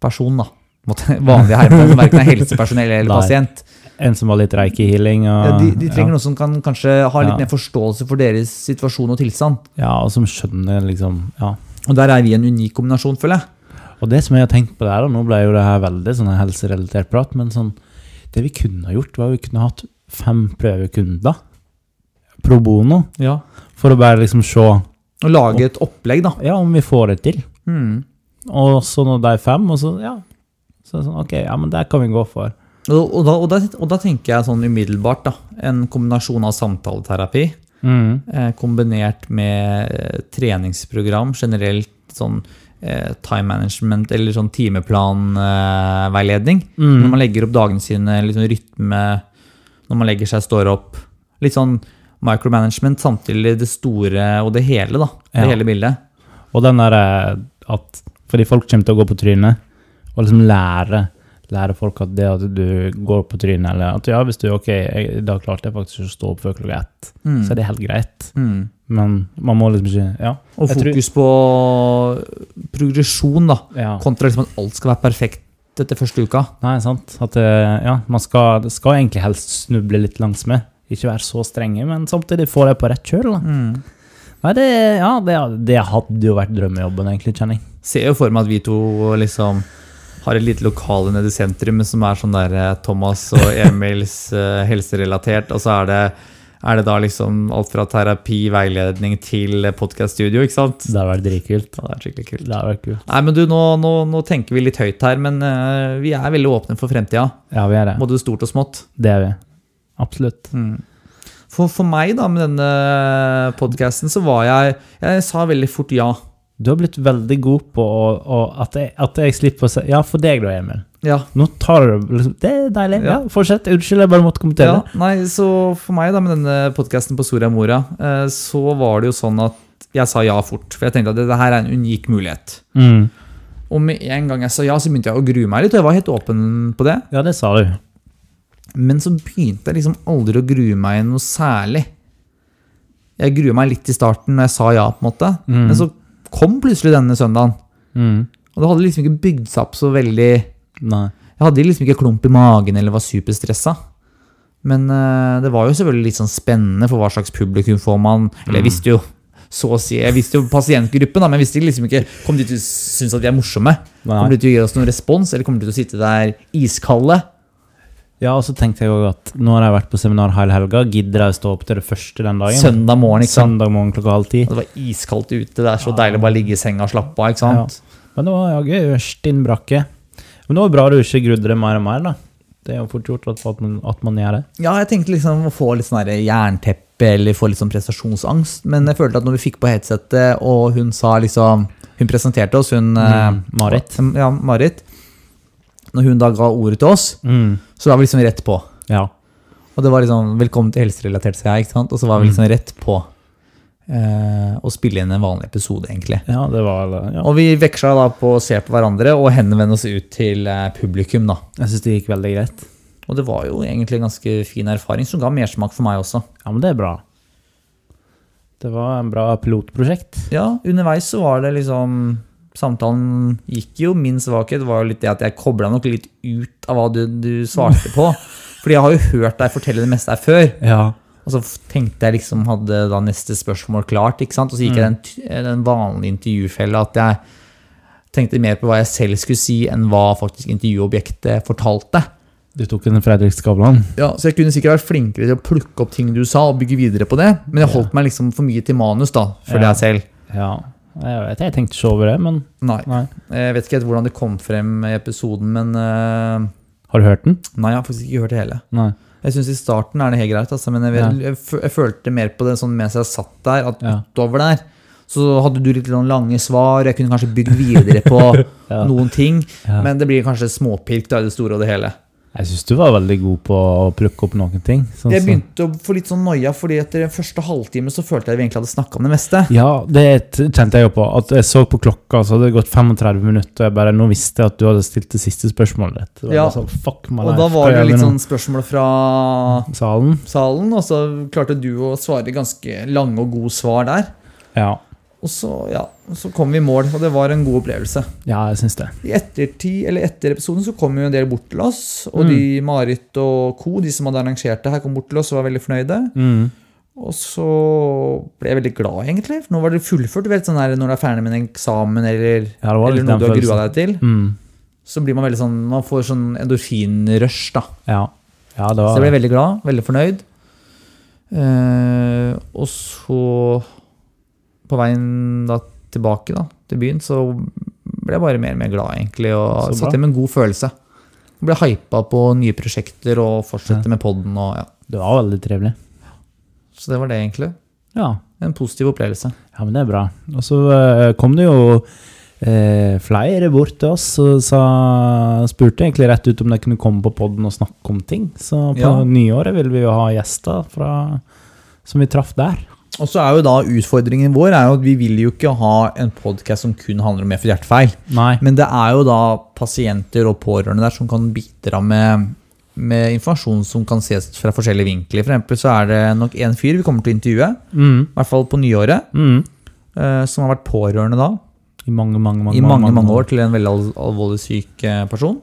Speaker 1: person, da. På en måte, Vanlig herremann som verken er helsepersonell eller
Speaker 2: Nei.
Speaker 1: pasient.
Speaker 2: En som har litt reiki-healing. Og,
Speaker 1: Ja, de, de trenger noen som kan kanskje ha litt
Speaker 2: Ja.
Speaker 1: mer forståelse for deres situasjon og tilstand.
Speaker 2: ja. ja, og som skjønner liksom Ja.
Speaker 1: Og der er vi en unik kombinasjon, føler jeg.
Speaker 2: Og det som jeg har tenkt på der, og nå ble jo det her veldig sånn en helserelatert prat, men sånn, det vi kunne ha gjort, var vi kunne hatt fem prøvekunder pro bono, for å bare liksom se
Speaker 1: Og lage et opplegg, da.
Speaker 2: ja, om vi får det til.
Speaker 1: Mm.
Speaker 2: Og så når de er fem, og så ja, så er det sånn, ok, ja, men det kan vi gå for.
Speaker 1: Og, og, da, og, da, og da tenker jeg sånn umiddelbart, da. En kombinasjon av samtaleterapi.
Speaker 2: Mm.
Speaker 1: eh, kombinert med eh, treningsprogram, generelt sånn eh, time management eller sånn timeplanveiledning.
Speaker 2: Mm.
Speaker 1: Når man legger opp dagene sine, litt sånn rytme, når man legger seg, står opp. Litt sånn micromanagement, samtidig det store og det hele, da. Det
Speaker 2: Ja.
Speaker 1: hele bildet.
Speaker 2: Og den der eh, at Fordi folk kommer til å gå på trynet, og liksom lære lære folk at det at du går på trynet, eller at ja, hvis du ok, jeg, da klarte jeg faktisk å stå opp før klokka ett,
Speaker 1: Mm.
Speaker 2: så er det helt greit.
Speaker 1: Mm.
Speaker 2: Men man må liksom ikke Ja.
Speaker 1: Og
Speaker 2: Jeg tror-
Speaker 1: fokus på progresjon, da.
Speaker 2: ja.
Speaker 1: Kontra liksom at alt skal være perfekt etter første uka.
Speaker 2: Nei, sant. At eh, ja, man skal, det skal egentlig helst snuble litt langsmed. Ikke være så strenge, men samtidig få det på rett kjøl. da.
Speaker 1: Mm.
Speaker 2: Nei, det, ja, det, det hadde jo vært drømmejobben, egentlig, kjenner jeg.
Speaker 1: ser jo for meg at vi to liksom har et lite lokale nede i sentrum som er sånn der eh, Thomas og Emils eh, helserelatert, og så er det, er det da liksom alt fra terapi, veiledning til eh, podcaststudio, ikke sant?
Speaker 2: Det hadde vært dritkult.
Speaker 1: Ja, det er skikkelig kult.
Speaker 2: Det hadde vært kult.
Speaker 1: Nei, men du, nå, nå, nå tenker vi litt høyt her, men eh, vi er veldig åpne for fremtida.
Speaker 2: Ja, vi er det.
Speaker 1: Både stort og smått. Mm.
Speaker 2: Det er vi. Absolutt.
Speaker 1: For, for meg, da, med denne podkasten, så var jeg Jeg sa veldig fort ja.
Speaker 2: Du har blitt veldig god på å, å, at, jeg, at jeg slipper å si Ja, for deg da, Emil.
Speaker 1: Ja.
Speaker 2: Nå tar du det liksom Det er deilig.
Speaker 1: Ja.
Speaker 2: Ja, fortsett. Unnskyld, jeg bare måtte kommentere.
Speaker 1: Ja, nei, så for meg da, med denne podcasten på Soria Moria, eh, så var det jo sånn at jeg sa ja fort, for jeg tenkte at dette her er en unik mulighet.
Speaker 2: Mm.
Speaker 1: Og med en gang jeg sa ja, så begynte jeg å grue meg litt, og jeg var helt åpen på det.
Speaker 2: ja det sa du.
Speaker 1: Men så begynte jeg liksom aldri å grue meg noe særlig. Jeg gruer meg litt i starten når jeg sa ja, på en måte. Men så kom plutselig denne søndagen.
Speaker 2: Mm.
Speaker 1: Og det hadde liksom ikke bygd seg opp så veldig Jeg
Speaker 2: Nei.
Speaker 1: hadde liksom ikke klump i magen eller var superstressa. Men eh, det var jo selvfølgelig litt sånn spennende for hva slags publikum får man. Eller
Speaker 2: Mm.
Speaker 1: jeg visste jo så å si, jeg visste jo pasientgruppen, da, men jeg visste liksom ikke Kommer de til å synes at vi er morsomme?
Speaker 2: Nei.
Speaker 1: Kommer de til å gi oss noen respons? Eller kommer de til å sitte der iskalde?
Speaker 2: Ja, og så tenkte jeg òg at nå har jeg vært på seminar hele helga. Gidder jeg å stå opp til det første den dagen?
Speaker 1: Søndag morgen, ikke sant?
Speaker 2: Søndag morgen klokka halv ti.
Speaker 1: Og det var iskaldt ute. Det er så deilig å bare ligge i senga og slappe av. ikke
Speaker 2: Ja.
Speaker 1: sant?
Speaker 2: Men det var ja, gøy. Stinn brakke. Men det var bra du ikke grudde deg mer og mer, da. Det er jo fort gjort at, at, man, at man gjør det.
Speaker 1: Ja, jeg tenkte liksom å få litt sånn der jernteppe eller få litt sånn prestasjonsangst. Men jeg følte at når vi fikk på headsetet, og hun sa liksom Hun presenterte oss, hun
Speaker 2: Mm,
Speaker 1: eh,
Speaker 2: Marit.
Speaker 1: Ja, Marit. Når hun da ga ordet til oss,
Speaker 2: Mm.
Speaker 1: så var vi liksom rett på.
Speaker 2: Ja.
Speaker 1: Og det var liksom 'velkommen til helserelatert', sa jeg. ikke sant? Og så var vi
Speaker 2: Mm.
Speaker 1: liksom rett på eh, å spille inn en vanlig episode, egentlig.
Speaker 2: ja, det var ja.
Speaker 1: Og vi veksla da på å se på hverandre og henvende oss ut til eh, publikum, da.
Speaker 2: Jeg syns det gikk veldig greit.
Speaker 1: Og det var jo egentlig en ganske fin erfaring, som ga mersmak for meg også.
Speaker 2: Ja, men det er bra. Det var en bra pilotprosjekt.
Speaker 1: Ja, underveis så var det liksom Samtalen gikk jo. Min svakhet var jo litt det at jeg kobla nok litt ut av hva du, du svarte på. Fordi jeg har jo hørt deg fortelle det meste her før.
Speaker 2: Ja.
Speaker 1: Og så f- tenkte jeg liksom, hadde da neste spørsmål klart. ikke sant? Og så gikk jeg den, t- den vanlige intervjufella at jeg tenkte mer på hva jeg selv skulle si, enn hva faktisk intervjuobjektet fortalte.
Speaker 2: Du tok en Fredrik Skavlan.
Speaker 1: Ja, Så jeg kunne sikkert vært flinkere til å plukke opp ting du sa, og bygge videre på det. Men jeg holdt meg liksom for mye til manus, da, føler
Speaker 2: Ja.
Speaker 1: jeg selv.
Speaker 2: Ja. Jeg vet, jeg tenkte ikke over det, men
Speaker 1: Nei.
Speaker 2: nei.
Speaker 1: Jeg vet ikke helt hvordan det kom frem i episoden, men eh,
Speaker 2: Har du hørt den?
Speaker 1: Nei, jeg har faktisk ikke hørt det hele.
Speaker 2: Nei.
Speaker 1: Jeg syns i starten er det helt greit, altså, men jeg, vel, jeg, f jeg følte mer på det sånn mens jeg satt der, at
Speaker 2: Ja.
Speaker 1: utover der så hadde du litt sånn lange svar, jeg kunne kanskje bygd videre på
Speaker 2: Ja.
Speaker 1: noen ting,
Speaker 2: Ja.
Speaker 1: men det blir kanskje småpirk da, i det store og det hele.
Speaker 2: Jeg syns du var veldig god på å plukke opp noen ting. Sånn
Speaker 1: Jeg
Speaker 2: som-
Speaker 1: begynte å få litt sånn noia, fordi etter den første halvtime så følte jeg vi egentlig hadde snakka om det meste.
Speaker 2: Ja, det t- kjente jeg jo på. At jeg så på klokka, så hadde det gått 35 minutter, og jeg bare, nå visste jeg at du hadde stilt det siste spørsmålet ditt. Det var
Speaker 1: Ja.
Speaker 2: bare Sånn, fuck my
Speaker 1: Og
Speaker 2: life,
Speaker 1: da
Speaker 2: hva
Speaker 1: var det
Speaker 2: gjør vi
Speaker 1: litt
Speaker 2: nå?
Speaker 1: sånn spørsmål fra
Speaker 2: Salen?
Speaker 1: salen, og så klarte du å svare ganske lange og gode svar der.
Speaker 2: Ja.
Speaker 1: Og så, ja, så kom vi i mål, og det var en god opplevelse.
Speaker 2: ja, jeg syns det.
Speaker 1: I ettertid, eller etter episoden så kom jo en del bort til oss, og
Speaker 2: Mm.
Speaker 1: de Marit og co., de som hadde arrangert det her, kom bort til oss og var veldig fornøyde.
Speaker 2: Mm.
Speaker 1: Og så ble jeg veldig glad, egentlig. For nå var det fullført. Du vet, sånn der, når du er ferdig med en eksamen eller,
Speaker 2: Ja, det var
Speaker 1: eller
Speaker 2: litt
Speaker 1: noe
Speaker 2: den
Speaker 1: du har grua deg
Speaker 2: følelsen.
Speaker 1: til,
Speaker 2: Mm.
Speaker 1: så blir man veldig sånn Man får sånn endorfinrush, da.
Speaker 2: Ja. ja, det
Speaker 1: Så
Speaker 2: var
Speaker 1: jeg ble veldig glad, veldig fornøyd. Eh, og så, på veien da tilbake da, til byen, så ble jeg bare mer og mer glad, egentlig.
Speaker 2: Så
Speaker 1: Og
Speaker 2: bra.
Speaker 1: satt igjen med en god følelse. Ble hypa på nye prosjekter og fortsette med podden. Og, ja.
Speaker 2: det var veldig trivelig.
Speaker 1: Så det var det, egentlig.
Speaker 2: Ja.
Speaker 1: En positiv opplevelse.
Speaker 2: ja, men det er bra. Og så eh, kom det jo eh, flere bort til oss og sa, spurte egentlig rett ut om de kunne komme på podden og snakke om ting. Så på
Speaker 1: Ja.
Speaker 2: nyåret ville vi jo ha gjester fra, som vi traff der.
Speaker 1: Og så er jo da utfordringen vår er jo at vi vil jo ikke ha en podkast som kun handler om for hjertefeil.
Speaker 2: Nei.
Speaker 1: Men det er jo da pasienter og pårørende der som kan bidra med, med informasjon som kan ses fra forskjellige vinkler. For eksempel så er det nok en fyr vi kommer til å intervjue,
Speaker 2: Mm.
Speaker 1: i hvert fall på nyåret,
Speaker 2: Mm.
Speaker 1: eh, som har vært pårørende da
Speaker 2: I mange, mange, mange,
Speaker 1: i mange, mange år til en veldig al- alvorlig syk eh, person.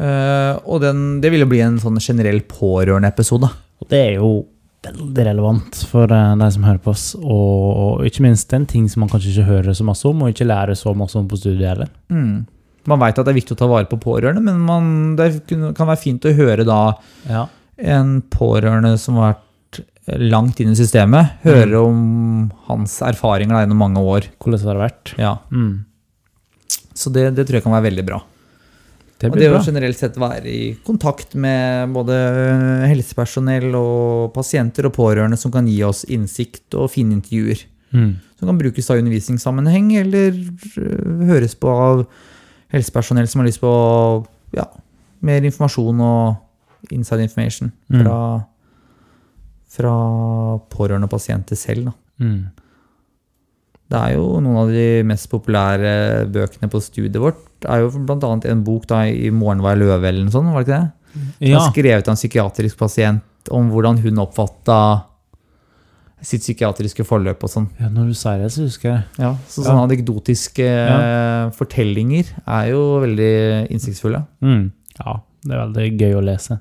Speaker 1: Eh, og den, det ville bli en sånn generell pårørende-episode.
Speaker 2: Og det er jo veldig relevant for eh, de som hører på oss. Og, og ikke minst en ting som man kanskje ikke hører så masse om, og ikke lærer så masse om på studiet heller.
Speaker 1: Mm. Man veit at det er viktig å ta vare på pårørende, men man, det kun- kan være fint å høre da
Speaker 2: Ja.
Speaker 1: en pårørende som har vært eh, langt inn i systemet, hører
Speaker 2: Mm.
Speaker 1: om hans erfaringer da, gjennom mange år.
Speaker 2: Hvordan har det vært?
Speaker 1: Ja.
Speaker 2: Mm.
Speaker 1: Så det, det tror jeg kan være veldig bra.
Speaker 2: Det
Speaker 1: Og det
Speaker 2: blir
Speaker 1: å
Speaker 2: bra.
Speaker 1: generelt sett være i kontakt med både eh, helsepersonell og pasienter og pårørende som kan gi oss innsikt og fine intervjuer.
Speaker 2: Mm.
Speaker 1: Som kan brukes da i undervisningssammenheng, eller øh, høres på av helsepersonell som har lyst på ja, mer informasjon og inside information
Speaker 2: Mm.
Speaker 1: fra, fra pårørende og pasienter selv. Da.
Speaker 2: Mm.
Speaker 1: Det er jo noen av de mest populære bøkene på studiet vårt. Det er jo blant annet en bok da, i 'Morgen var jeg løve' eller noe sånt, var det ikke det? Den
Speaker 2: Ja.
Speaker 1: er skrevet av en psykiatrisk pasient om hvordan hun oppfatta sitt psykiatriske forløp og sånn.
Speaker 2: Ja, når du sier det, så husker jeg det.
Speaker 1: Ja, så
Speaker 2: Ja.
Speaker 1: sånne anekdotiske eh, fortellinger er jo veldig innsiktsfulle.
Speaker 2: Mm. Ja, det er veldig gøy å lese.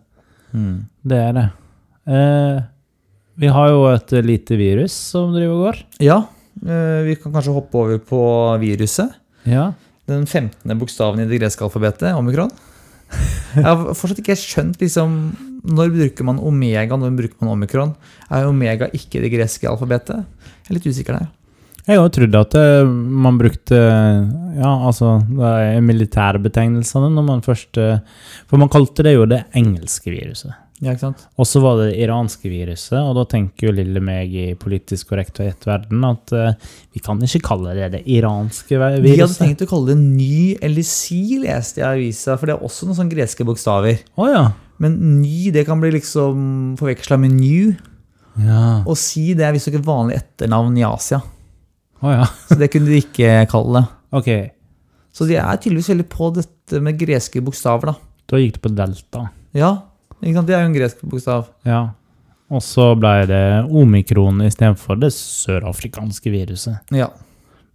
Speaker 1: Mm.
Speaker 2: Det er det. Eh, vi har jo et lite virus som driver og går.
Speaker 1: Ja, eh, vi kan kanskje hoppe over på viruset.
Speaker 2: Ja.
Speaker 1: Den 15. bokstaven i det greske alfabetet, omikron. Jeg har fortsatt ikke skjønt liksom, når bruker man omega, når bruker man omikron. Er omega ikke det greske alfabetet? Jeg er litt usikker der.
Speaker 2: Jeg har jo trodd at eh, man brukte ja, altså, det er militærbetegnelsene når man først eh, For man kalte det jo det engelske viruset.
Speaker 1: Ja, ikke sant?
Speaker 2: Og så var det det iranske viruset, og da tenker jo lille meg i politisk korrekt og ett verden at eh, vi kan ikke kalle det det iranske vi-
Speaker 1: De hadde
Speaker 2: viruset.
Speaker 1: tenkt å kalle det ny eller si, leste jeg i avisa, for det er også noen sånne greske bokstaver.
Speaker 2: Å ja.
Speaker 1: Men ny det kan bli liksom forveksla med new.
Speaker 2: Ja.
Speaker 1: Og si det er visstnok et vanlig etternavn i Asia.
Speaker 2: Å ja.
Speaker 1: Så det kunne de ikke kalle det.
Speaker 2: Ok,
Speaker 1: Så de er tydeligvis veldig på dette med greske bokstaver, da.
Speaker 2: da gikk det på delta.
Speaker 1: Ja, ikke sant? Det er jo en gresk bokstav.
Speaker 2: Ja. Og så ble det omikron istedenfor det sørafrikanske viruset.
Speaker 1: Ja.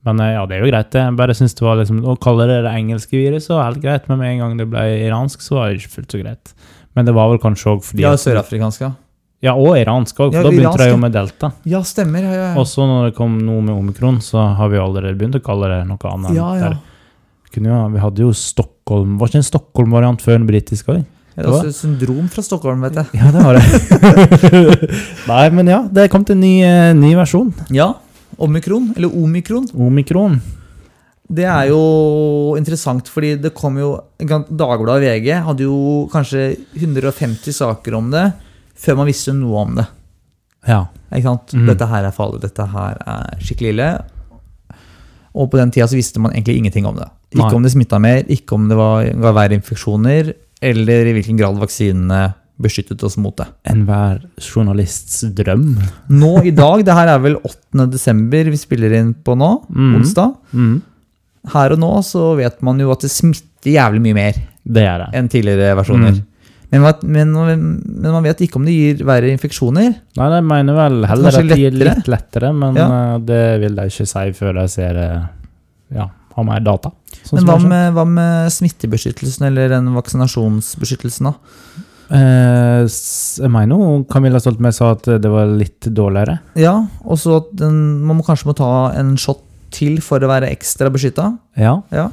Speaker 2: Men eh, ja, det er jo greit, det. Jeg bare synes det var liksom, Å kalle det det engelske viruset var helt greit, men med en gang det ble iransk, så var det ikke fullt så greit. Men det var vel kanskje òg fordi
Speaker 1: ja Sørafrikansk, ja.
Speaker 2: Ja, og iransk òg, for
Speaker 1: Ja,
Speaker 2: da begynte
Speaker 1: iransk,
Speaker 2: de
Speaker 1: ja.
Speaker 2: jo med delta.
Speaker 1: Ja, stemmer. Ja, ja, ja.
Speaker 2: Og så når det kom noe med omikron, så har vi allerede begynt å kalle det noe annet.
Speaker 1: ja, ja.
Speaker 2: Der Kunne jo, vi hadde jo Stockholm Var ikke en Stockholm-variant før en britisk òg?
Speaker 1: Det er også et syndrom fra Stockholm, vet jeg.
Speaker 2: Ja, det var det. Nei, men ja, det kom til en ny, eh, ny versjon.
Speaker 1: Ja. Omikron, eller omikron.
Speaker 2: Omikron.
Speaker 1: Det er jo interessant, fordi det kom jo Dagbladet og VG hadde jo kanskje 150 saker om det før man visste noe om det.
Speaker 2: Ja.
Speaker 1: Ikke sant?
Speaker 2: Mhm.
Speaker 1: Dette her er farlig, dette her er skikkelig ille. Og på den tida så visste man egentlig ingenting om det. Ikke
Speaker 2: Nei.
Speaker 1: om det smitta mer, ikke om det var, ga verre infeksjoner, eller i hvilken grad vaksinene beskyttet oss mot det.
Speaker 2: Enhver journalists drøm.
Speaker 1: Nå i dag, det her er vel 8. desember vi spiller inn på nå,
Speaker 2: Mhm.
Speaker 1: onsdag. Her og nå så vet man jo at det smitter jævlig mye mer
Speaker 2: Det er det.
Speaker 1: enn tidligere versjoner.
Speaker 2: Mhm.
Speaker 1: Men, man- men, men man vet ikke om det gir verre infeksjoner.
Speaker 2: Nei, de mener vel heller
Speaker 1: Kanskje
Speaker 2: at de er
Speaker 1: lettere?
Speaker 2: litt lettere, men
Speaker 1: Ja.
Speaker 2: eh, det vil de ikke si før de ser eh, Ja, har mer data.
Speaker 1: Men
Speaker 2: Sånn som
Speaker 1: hva
Speaker 2: jeg skjønner.
Speaker 1: med, hva med smittebeskyttelsen eller den vaksinasjonsbeskyttelsen, da?
Speaker 2: Eh, s- Jeg mener jo Camilla Stoltenberg sa at det var litt dårligere.
Speaker 1: Ja, og så at den, man må kanskje må ta en shot til for å være ekstra beskytta.
Speaker 2: Ja.
Speaker 1: Ja.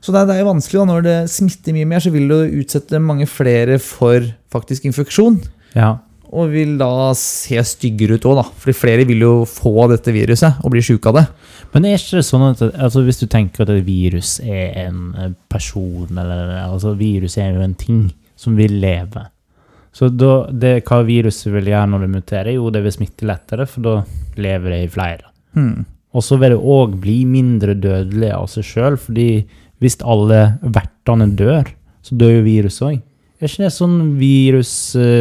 Speaker 1: Så det er, det er jo vanskelig da, når det smitter mye mer, så vil du utsette mange flere for faktisk infeksjon.
Speaker 2: ja.
Speaker 1: Og vil da se styggere ut òg, da. Fordi flere vil jo få dette viruset og bli sjuke av det.
Speaker 2: Men er ikke det sånn at altså, hvis du tenker at et virus er en eh, person, eller altså virus er jo en ting som vil leve. Så da, det, hva viruset vil gjøre når det muterer, jo det vil smitte lettere, for da lever det i flere.
Speaker 1: Hmm.
Speaker 2: Og så vil det òg bli mindre dødelig av seg sjøl, fordi hvis alle vertene dør, så dør jo viruset òg. Er ikke det sånn eh, virusvitenskap?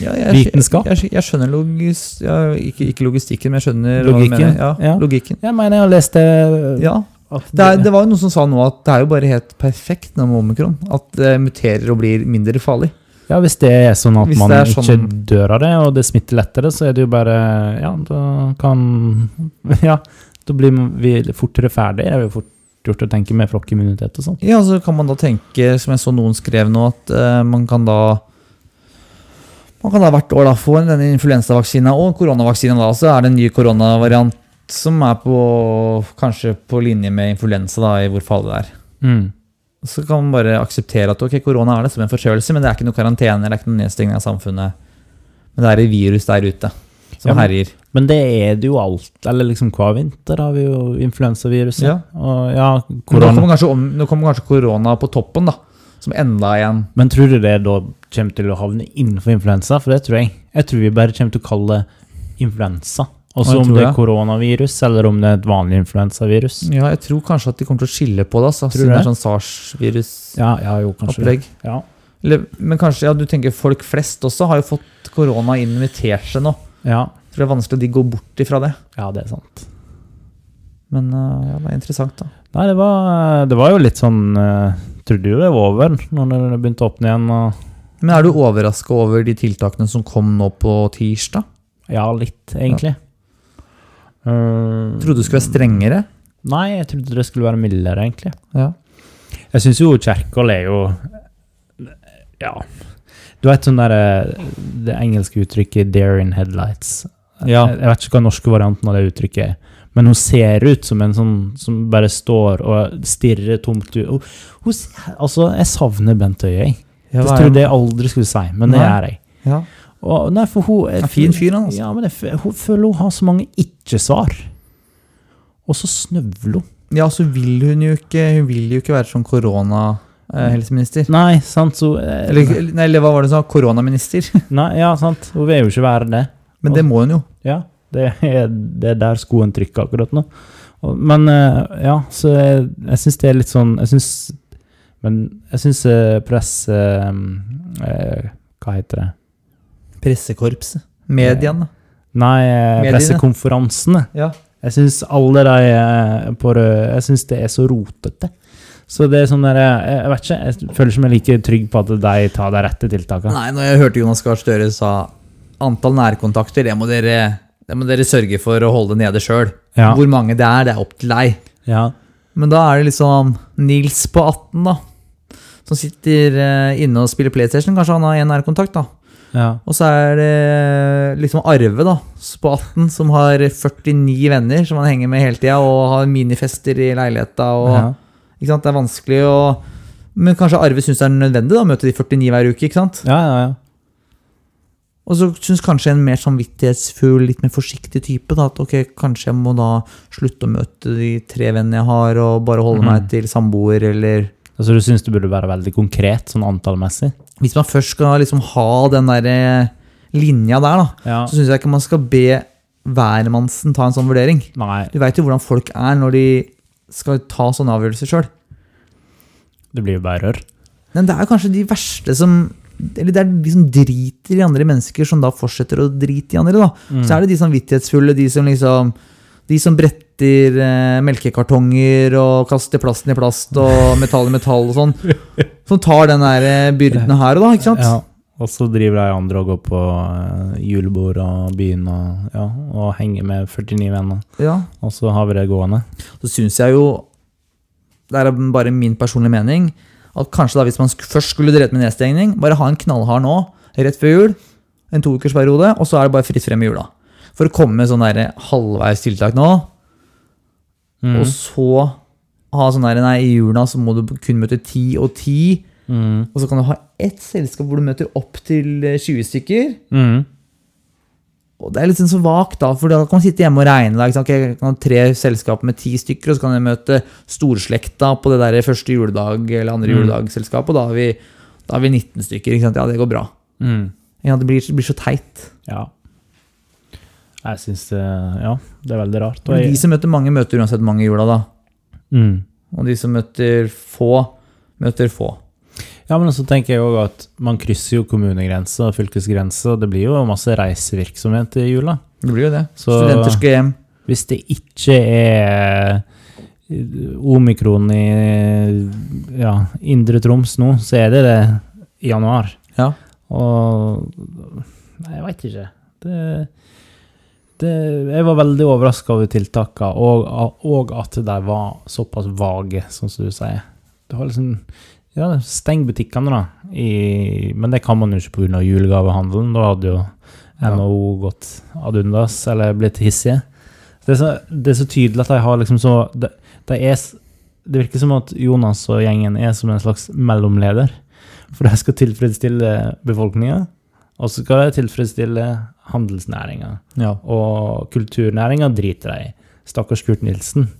Speaker 1: Ja, jeg,
Speaker 2: Vitenskap?
Speaker 1: Jeg, jeg skjønner logis, ja, ikke, ikke logistikken, men jeg skjønner
Speaker 2: Logikken,
Speaker 1: hva du mener. Ja,
Speaker 2: ja.
Speaker 1: Logikken.
Speaker 2: jeg mener jeg har lest det,
Speaker 1: Ja.
Speaker 2: at
Speaker 1: Det, er, det var jo noen som sa nå at det er jo bare helt perfekt nå med omikron. At det muterer og blir mindre farlig.
Speaker 2: Ja, hvis det er sånn at
Speaker 1: Hvis
Speaker 2: man
Speaker 1: det er
Speaker 2: ikke
Speaker 1: sånn-
Speaker 2: dør av det, og det smitter lettere, så er det jo bare Ja, da kan Ja, da blir vi fortere ferdig. Det er jo fort gjort å tenke med flokkimmunitet og sånn.
Speaker 1: Ja, så kan man da tenke, som jeg så noen skrev nå, at eh, man kan da man kan da hvert år da få en- denne influensavaksina og koronavaksina. da, Så er det en ny koronavariant som er på, kanskje på linje med influensa da, i hvor farlig det er. Mm. Så kan man bare akseptere at ok, korona er det som en forkjølelse, men det er ikke noe karantene eller ikke noe nedstengning av samfunnet. Men det er et virus der ute som
Speaker 2: Ja, men-
Speaker 1: herjer.
Speaker 2: Men det er det jo alt. Eller liksom hver vinter har vi jo influensaviruset.
Speaker 1: Ja.
Speaker 2: Og ja,
Speaker 1: Men Nå
Speaker 2: korona.
Speaker 1: kommer kanskje om- nå kommer kanskje korona på toppen, da. Som enda igjen.
Speaker 2: Men tror du det da kommer til å havne innenfor influensa? For det tror jeg. Jeg tror vi bare kommer til å kalle det influensa. Og
Speaker 1: Ja,
Speaker 2: så
Speaker 1: jeg
Speaker 2: om
Speaker 1: tror
Speaker 2: det er
Speaker 1: det.
Speaker 2: koronavirus, eller om det er et vanlig influensavirus.
Speaker 1: Ja, jeg tror kanskje at de kommer til å skille på det, altså,
Speaker 2: Tror du
Speaker 1: siden det er
Speaker 2: det?
Speaker 1: sånn sars-virus.
Speaker 2: Ja, ja, jo, kanskje. det.
Speaker 1: opplegg.
Speaker 2: Ja.
Speaker 1: Eller, men kanskje, ja, du tenker folk flest også har jo fått korona inn invitert seg nå.
Speaker 2: ja.
Speaker 1: Jeg tror det er vanskelig at de går bort ifra det.
Speaker 2: Ja, det er sant.
Speaker 1: Men eh, ja, det er interessant, da.
Speaker 2: Nei, det var, det var jo litt sånn eh, Trodde jo det var over når det begynte å åpne igjen. Og,
Speaker 1: Men er du overraska over de tiltakene som kom nå på tirsdag?
Speaker 2: Ja, litt, egentlig. Eh,
Speaker 1: Trodde du skulle være strengere?
Speaker 2: Nei, jeg trodde det skulle være mildere, egentlig.
Speaker 1: Ja.
Speaker 2: Jeg syns jo Kjerkol er jo Ja. Du vet sånn derre Det engelske uttrykket 'dare in headlights'.
Speaker 1: Ja.
Speaker 2: Jeg, jeg vet ikke hva den norske varianten av det uttrykket er. Men hun ser ut som en sånn som bare står og stirrer tomt ut. Hun, hun, s- altså, jeg savner Bent Høie, jeg.
Speaker 1: Ja,
Speaker 2: Jeg
Speaker 1: hva er han?
Speaker 2: trodde jeg aldri skulle si, men det
Speaker 1: Nei.
Speaker 2: gjør jeg.
Speaker 1: Ja.
Speaker 2: Og, nei, for hun
Speaker 1: En fin fyr, han, altså.
Speaker 2: Ja, men jeg, f- hun føler hun har så mange ikke-svar. Og så snøvler hun.
Speaker 1: ja, så vil hun jo ikke Hun vil jo ikke være sånn koronahelseminister.
Speaker 2: Nei, sant, så eh,
Speaker 1: Eller, nei, eller hva var det hun sa? Koronaminister.
Speaker 2: Nei, ja, sant. Hun vil jo ikke være det.
Speaker 1: Men det må hun jo.
Speaker 2: Ja, det er, det er der skoen trykker akkurat nå. Og- Men eh, ja, så jeg, jeg syns det er litt sånn Jeg syns Men jeg syns press eh, eh, Hva heter det?
Speaker 1: Pressekorpset. Mediene.
Speaker 2: Nei, eh,
Speaker 1: Mediene.
Speaker 2: pressekonferansene.
Speaker 1: Ja.
Speaker 2: Jeg syns alle de eh, på rød Jeg syns det er så rotete. Så det er sånn der, jeg, jeg vet ikke, jeg føler ikke meg like trygg på at de tar de rette tiltakene.
Speaker 1: Nei, når jeg hørte Jonas Gahr Støre sa antall nærkontakter, det må dere, det må dere sørge for å holde nede sjøl.
Speaker 2: Ja.
Speaker 1: Hvor mange det er, det er opp til deg.
Speaker 2: Ja.
Speaker 1: Men da er det liksom Nils på 18, da. Som sitter eh, inne og spiller PlayStation. Kanskje han har én nærkontakt, da.
Speaker 2: Ja.
Speaker 1: Og så er det liksom Arve, da, på 18, som har 49 venner som han henger med hele tida, og har minifester i leiligheta og
Speaker 2: ja.
Speaker 1: Ikke sant, det er vanskelig å Men kanskje Arve syns det er nødvendig da, å møte de 49 hver uke, ikke sant?
Speaker 2: ja, ja, ja.
Speaker 1: Og så syns kanskje en mer samvittighetsfull, litt mer forsiktig type da, at ok, kanskje jeg må da slutte å møte de tre vennene jeg har, og bare holde
Speaker 2: Mhm.
Speaker 1: meg til samboer, eller
Speaker 2: Altså, du syns det burde være veldig konkret, sånn antallmessig?
Speaker 1: Hvis man først skal liksom ha den derre linja der, da,
Speaker 2: Ja.
Speaker 1: så syns jeg ikke man skal be hvermannsen ta en sånn vurdering.
Speaker 2: Nei,
Speaker 1: Du veit jo hvordan folk er når de skal ta sånne avgjørelser sjøl.
Speaker 2: det blir jo bare rør.
Speaker 1: Men det er kanskje de verste som Eller det er de som driter i andre mennesker, som da fortsetter å drite i andre. da.
Speaker 2: Mm.
Speaker 1: Så er det de samvittighetsfulle, de som liksom De som bretter eh, melkekartonger og kaster plasten i plast og metall i metall og sånn. Som tar den der eh, byrden her og da, ikke sant?
Speaker 2: Ja. Og så driver de andre og går på eh, julebord og byen og, ja, og henger med 49 venner.
Speaker 1: Ja.
Speaker 2: Og så har vi det gående.
Speaker 1: Så syns jeg jo Det er bare min personlige mening. At kanskje da hvis man sk- først skulle drevet med nedstengning, bare ha en knallhard nå, rett før jul, en toukersperiode, og så er det bare fritt frem i jula. For å komme med sånn der halvveis tiltak nå, og så ha sånn der Nei, i jula så må du kun møte ti og ti,
Speaker 2: Mm.
Speaker 1: og så kan du ha ett selskap hvor du møter opp til eh, 20 stykker.
Speaker 2: Mm.
Speaker 1: Og det er litt sånn så vagt, da, for da kan man sitte hjemme og regne. Da, ikke sant? Ok, Jeg kan ha tre selskap med ti stykker, og så kan jeg møte storslekta på det der første juledag eller andre
Speaker 2: Mm.
Speaker 1: juledagsselskapet, og da har vi, da har vi 19 stykker. Ikke sant? Ja, det går bra.
Speaker 2: Mm.
Speaker 1: Ja, det, blir, det blir så teit.
Speaker 2: Ja. Jeg syns det Ja, det er veldig rart. Og
Speaker 1: Men de
Speaker 2: jeg,
Speaker 1: som møter mange, møter uansett mange i jula, da.
Speaker 2: mm.
Speaker 1: Og de som møter få, møter få.
Speaker 2: Ja, men så tenker jeg òg at man krysser jo kommunegrenser og fylkesgrenser, og det blir jo masse reisevirksomhet i jula.
Speaker 1: Det blir jo det.
Speaker 2: Så-
Speaker 1: Studenter skal hjem.
Speaker 2: Hvis det ikke er eh, omikron i ja, indre Troms nå, så er det det i januar.
Speaker 1: Ja.
Speaker 2: Og Nei, jeg veit ikke. Det, det, jeg var veldig overraska over tiltakene, og, og at de var såpass vage, sånn som du sier. Det var liksom Ja, steng butikkene, da. I, men det kan man jo ikke pga. julegavehandelen. Da hadde jo
Speaker 1: Ja.
Speaker 2: NHO gått ad undas, eller blitt hissige. Det er så, det er så tydelig at de har liksom så de, de er, s- Det virker som at Jonas og gjengen er som en slags mellomleder. For de skal tilfredsstille befolkninga, og så skal de tilfredsstille handelsnæringa.
Speaker 1: Ja.
Speaker 2: Og kulturnæringa driter de i. Stakkars Kurt Nilsen.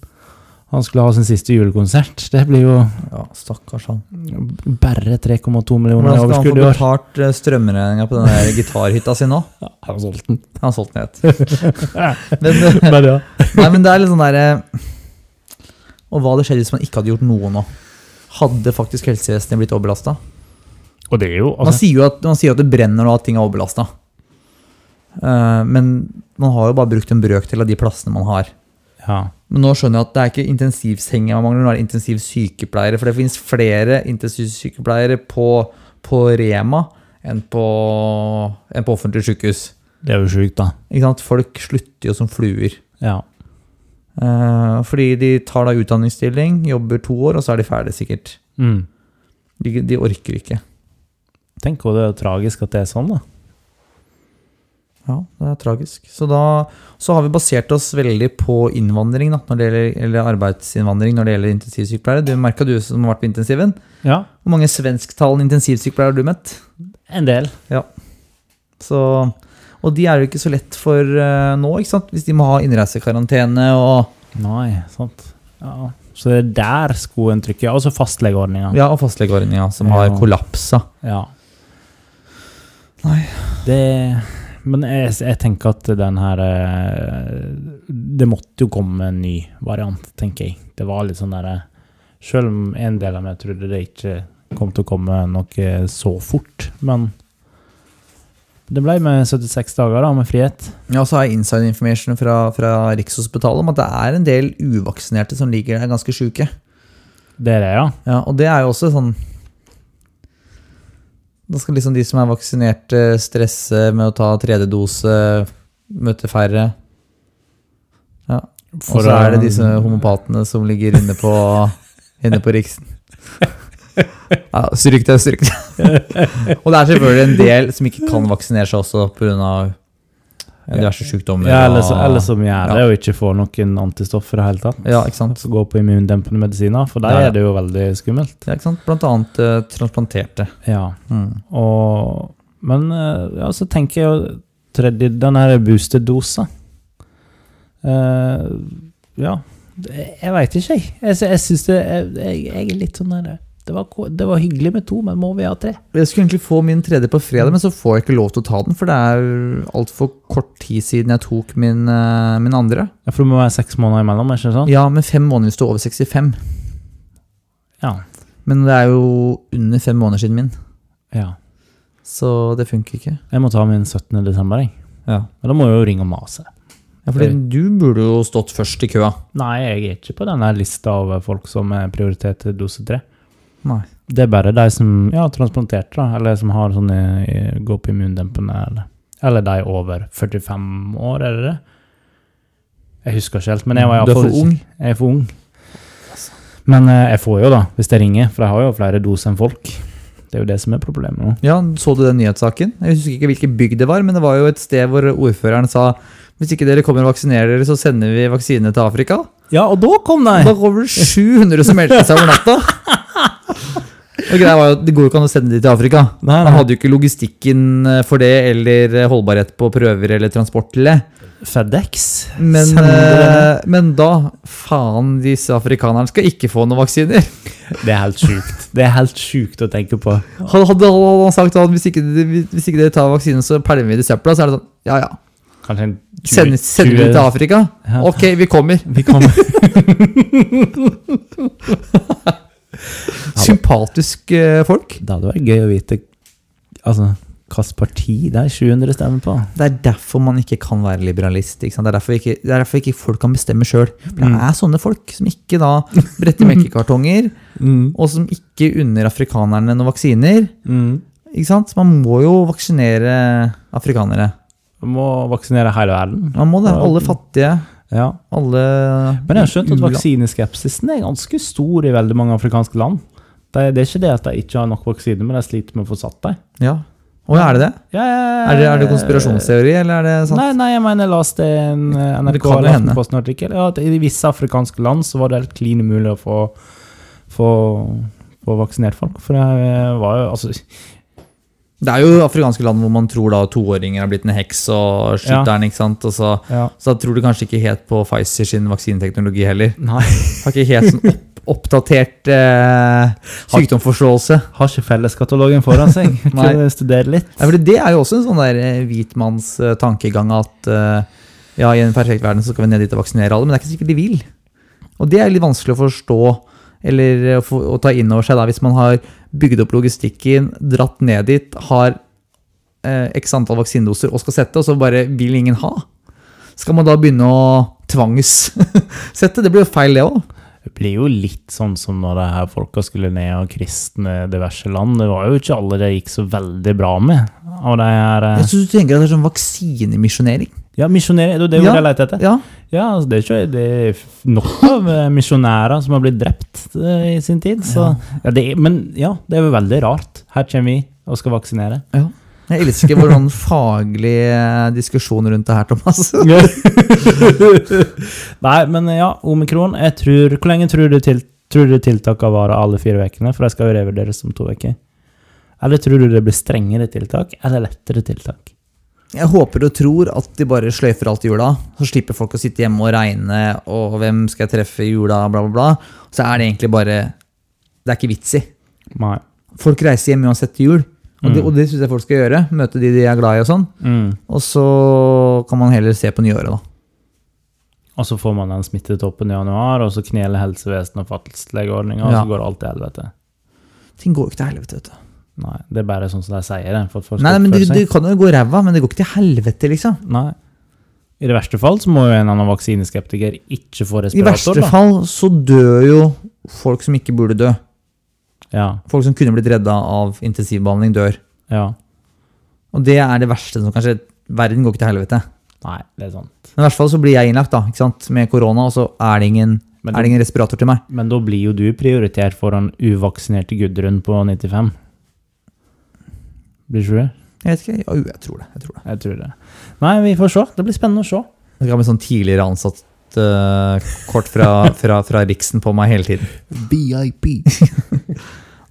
Speaker 2: Han skulle ha sin siste julekonsert. Det blir jo
Speaker 1: stakkars han.
Speaker 2: bare 3,2
Speaker 1: Hvordan skal
Speaker 2: millioner i
Speaker 1: han få
Speaker 2: overskudd i år.
Speaker 1: betalt eh, strømregninga på den der gitarhytta si nå?
Speaker 2: Han har solgt den.
Speaker 1: Han har solgt den helt. Men, eh,
Speaker 2: Men ja.
Speaker 1: Nei, men det er litt sånn derre Og hva hadde skjedd hvis man ikke hadde gjort noe nå? Hadde faktisk helsevesenet blitt overbelasta?
Speaker 2: Og det er jo
Speaker 1: Man
Speaker 2: altså,
Speaker 1: sier jo at, man sier at det brenner og at ting er overbelasta. men man har jo bare brukt en brøkdel av de plassene man har.
Speaker 2: ja.
Speaker 1: Men nå skjønner jeg at det er ikke intensivsenger man mangler, nå er det intensivsykepleiere. For det finnes flere intensivsykepleiere på, på Rema enn på, enn på offentlige sykehus.
Speaker 2: Det er jo sjukt, da.
Speaker 1: Ikke sant? Folk slutter jo som fluer.
Speaker 2: Ja.
Speaker 1: Eh, fordi de tar da utdanningsstilling, jobber to år, og så er de ferdige, sikkert.
Speaker 2: Mm.
Speaker 1: De, de orker ikke.
Speaker 2: Tenk hvor det er tragisk at det er sånn, da.
Speaker 1: Ja, det er tragisk. Så da så har vi basert oss veldig på innvandring, da, når det gjelder, eller arbeidsinnvandring når det gjelder intensivsykepleiere. Du merka du som har vært på intensiven.
Speaker 2: Ja,
Speaker 1: Hvor mange svensktalende intensivsykepleiere har du møtt?
Speaker 2: en del.
Speaker 1: Så, og de er jo ikke så lett for eh, nå, ikke sant? hvis de må ha innreisekarantene og,
Speaker 2: Nei, sant. Ja. Så det er der skoen trykker. Og så fastlegeordninga.
Speaker 1: ja, og fastlegeordninga, som har
Speaker 2: Ja.
Speaker 1: kollapsa.
Speaker 2: Ja.
Speaker 1: Nei.
Speaker 2: Det Men jeg, jeg tenker at den her eh, Det måtte jo komme en ny variant, tenker jeg. Det var litt sånn derre Selv om en del av meg trodde det ikke kom til å komme noe så fort, men det ble med 76 dager da, med frihet.
Speaker 1: Ja, og så har jeg inside information fra, fra Rikshospitalet om at det er en del uvaksinerte som ligger der ganske sjuke.
Speaker 2: Det er det, ja.
Speaker 1: Ja, og det er jo også sånn Da skal liksom de som er vaksinerte, stresse med å ta tredje dose, møte færre. Og så er det disse homopatene som ligger inne på, inne på Riksen. Ja, stryk det, stryk det. Og det er selvfølgelig en del som ikke kan vaksinere seg også pga. diverse sykdommer.
Speaker 2: Ja, eller, så,
Speaker 1: og-
Speaker 2: eller som gjør
Speaker 1: Ja.
Speaker 2: det, og ikke får noen antistoffer i det hele tatt.
Speaker 1: ja, ikke sant?
Speaker 2: Så går på immundempende medisiner, for der
Speaker 1: Ja, ja.
Speaker 2: er det jo veldig skummelt.
Speaker 1: Ja, ikke sant? Blant annet eh, transplanterte.
Speaker 2: Ja.
Speaker 1: Mm.
Speaker 2: Og, men eh, ja, så tenker jeg jo tredje, den her boosterdosa. Eh, ja, det- jeg veit ikke, jeg. Jeg, sy- jeg syns det jeg, jeg, jeg er litt sånn der det var, ko- det var hyggelig med to, men må vi ha tre?
Speaker 1: Jeg skulle egentlig få min tredje på fredag, men så får jeg ikke lov til å ta den, for det er altfor kort tid siden jeg tok min, eh, min andre.
Speaker 2: Ja, For det må være seks måneder imellom, er ikke det sånn?
Speaker 1: Ja, med fem måneder hvis du er over 65.
Speaker 2: Ja.
Speaker 1: Men det er jo under fem måneder siden min.
Speaker 2: ja.
Speaker 1: Så det funker ikke.
Speaker 2: Jeg må ta min 17. desember, jeg.
Speaker 1: Ja.
Speaker 2: Men da må jeg jo ringe og mase.
Speaker 1: fordi du burde jo stått først i køa.
Speaker 2: Nei, jeg er ikke på denne lista over folk som er prioritet til dose tre.
Speaker 1: Nei.
Speaker 2: Det er bare de som ja, transplanterte, da, eller som har sånne eh, går på immundempende, eller, eller de over 45 år, er det det? Jeg husker ikke helt, men jeg var
Speaker 1: du er
Speaker 2: iallfall
Speaker 1: for ung.
Speaker 2: Jeg er for ung. Men eh, jeg får jo, da, hvis jeg ringer, for jeg har jo flere doser enn folk. Det er jo det som er problemet nå.
Speaker 1: Ja, Så du den nyhetssaken? Jeg husker ikke hvilken bygd det var, men det var jo et sted hvor ordføreren sa hvis ikke dere kommer og vaksinerer dere, så sender vi vaksinene til Afrika.
Speaker 2: Ja, og da kom
Speaker 1: Da
Speaker 2: de!
Speaker 1: kommer det 700 som meldte seg over natta! Og greia var jo at Det går jo ikke an å sende de til Afrika.
Speaker 2: Nei,
Speaker 1: Man
Speaker 2: nei.
Speaker 1: hadde jo ikke logistikken eh, for det, eller eh, holdbarhet på prøver eller transport til det.
Speaker 2: FedEx.
Speaker 1: Men,
Speaker 2: sender dem.
Speaker 1: eh, men da Faen, disse afrikanerne skal ikke få noen vaksiner.
Speaker 2: Det er helt sjukt. Det er helt sjukt å tenke på.
Speaker 1: Hadde, hadde han sagt at hvis ikke, de- hvis ikke dere tar vaksinen, så pælmer vi det i søpla, så er det sånn Ja, ja.
Speaker 2: Kanskje en
Speaker 1: Send, send det til Afrika?
Speaker 2: Ja.
Speaker 1: Ok, vi kommer.
Speaker 2: Vi kommer.
Speaker 1: Sympatisk eh, folk.
Speaker 2: Det hadde vært gøy å vite altså, hvilket parti de 700 stemmer på.
Speaker 1: Det er derfor man ikke kan være liberalist. Ikke sant? Det, er derfor ikke, det er derfor ikke folk kan bestemme sjøl. Det
Speaker 2: Mm.
Speaker 1: er sånne folk som ikke da bretter melkekartonger,
Speaker 2: Mm,
Speaker 1: og som ikke unner afrikanerne noen vaksiner.
Speaker 2: mm.
Speaker 1: Ikke sant? Man må jo vaksinere afrikanere.
Speaker 2: Vi må vaksinere hele verden.
Speaker 1: Man må det. Alle fattige.
Speaker 2: Ja. Mm.
Speaker 1: Alle
Speaker 2: Men jeg har skjønt at
Speaker 1: u-land.
Speaker 2: vaksineskepsisen er ganske stor i veldig mange afrikanske land. Det, det er ikke det at de ikke har nok vaksiner, men de sliter med å få satt dem.
Speaker 1: Ja. Å, er det det?
Speaker 2: Ja,
Speaker 1: Er det, er det konspirasjonsteori, eller er det sant?
Speaker 2: Nei, nei, jeg mener jeg leste en eh,
Speaker 1: Det
Speaker 2: NRK
Speaker 1: kan jo
Speaker 2: eller
Speaker 1: hende.
Speaker 2: Aftenposten-artikkel ja, at i visse afrikanske land så var det helt klin umulig å få, få, få vaksinert folk. For det eh, var jo altså,
Speaker 1: Det er jo afrikanske land hvor man tror da toåringer har blitt en heks og skytteren, ikke sant? Og så,
Speaker 2: ja.
Speaker 1: så da tror du kanskje ikke helt på Pfizer sin vaksineteknologi heller.
Speaker 2: Nei.
Speaker 1: Har ikke helt sånn opp, oppdatert eh, sykdomsforståelse.
Speaker 2: Har ikke felleskatalogen foran seg.
Speaker 1: Nei.
Speaker 2: Kunne studere litt.
Speaker 1: Ja, fordi det er jo også en sånn der eh, hvitmanns eh, tankegang at eh, ja, i en perfekt verden så skal vi ned dit og vaksinere alle, men det er ikke sikkert de vil. Og det er litt vanskelig å forstå eller eh, å, få, å ta inn over seg da, hvis man har bygd opp logistikken, dratt ned dit, har eh, x antall vaksinedoser og skal sette, og så bare vil ingen ha. Skal man da begynne å tvangssette? Det blir jo feil, det òg.
Speaker 2: Det blir jo litt sånn som når det her folka skulle ned og kristne diverse land. Det var jo ikke alle det gikk så veldig bra med. Og det er eh,
Speaker 1: Jeg synes du tenker at det er sånn vaksinemisjonering?
Speaker 2: Ja, misjonærer. Det er jo
Speaker 1: Ja.
Speaker 2: det jeg leter etter.
Speaker 1: Ja.
Speaker 2: Ja, altså det er ikke det er f- nok av eh, misjonærer som har blitt drept eh, i sin tid. Så. Ja, det er, men ja, det er jo veldig rart. Her kommer vi og skal vaksinere.
Speaker 1: ja. Jeg elsker vår sånn faglige eh, diskusjon rundt det her, Thomas.
Speaker 2: Nei, men ja, omikron. Jeg tror, hvor lenge tror du, til, tror du tiltakene varer alle fire ukene? For de skal jo revurderes om to uker. Eller tror du det blir strengere tiltak eller lettere tiltak?
Speaker 1: Jeg håper og tror at de bare sløyfer alt i jula. Så slipper folk å sitte hjemme og regne og hvem skal jeg treffe i jula, bla, bla, bla. Så er det egentlig bare Det er ikke vits i.
Speaker 2: Nei.
Speaker 1: Folk reiser hjem uansett til jul. Og det,
Speaker 2: Mm.
Speaker 1: og det syns jeg folk skal gjøre. Møte de de er glad i og sånn.
Speaker 2: Mm.
Speaker 1: Og så kan man heller se på nyåret, da.
Speaker 2: Og så får man den smittetoppen i januar, og så kneler helsevesenet og fastlegeordninga, og
Speaker 1: Ja.
Speaker 2: så går alt til helvete.
Speaker 1: Ting går jo ikke til helvete, vet du.
Speaker 2: Nei, det er bare sånn som de sier det. For at folk
Speaker 1: Nei,
Speaker 2: skal
Speaker 1: nei, men du,
Speaker 2: oppføre
Speaker 1: du
Speaker 2: seg.
Speaker 1: kan jo gå ræva, men det går ikke til helvete, liksom.
Speaker 2: Nei. I det verste fall så må jo en annen vaksineskeptiker ikke få
Speaker 1: I
Speaker 2: respirator.
Speaker 1: verste
Speaker 2: da.
Speaker 1: fall så dør jo folk som ikke burde dø.
Speaker 2: Ja,
Speaker 1: Folk som kunne blitt redda av intensivbehandling, dør.
Speaker 2: ja.
Speaker 1: Og det er det verste som kanskje Verden går ikke til helvete.
Speaker 2: Nei, det er sånn. sant.
Speaker 1: Men i hvert fall så blir jeg innlagt da, ikke sant? med korona, og så er det, ingen,
Speaker 2: Men-
Speaker 1: er det ingen respirator til meg.
Speaker 2: Men da blir jo du prioritert foran uvaksinerte Gudrun på 95. Blir ikke du det?
Speaker 1: Jeg vet ikke, jo, jeg tror det. jeg tror det.
Speaker 2: Jeg tror det. Nei, vi får se. Det blir spennende å se.
Speaker 1: Jeg skal ha med sånn tidligere ansatt eh, kort fra, fra, fra Riksen på meg hele tiden.
Speaker 2: BIP.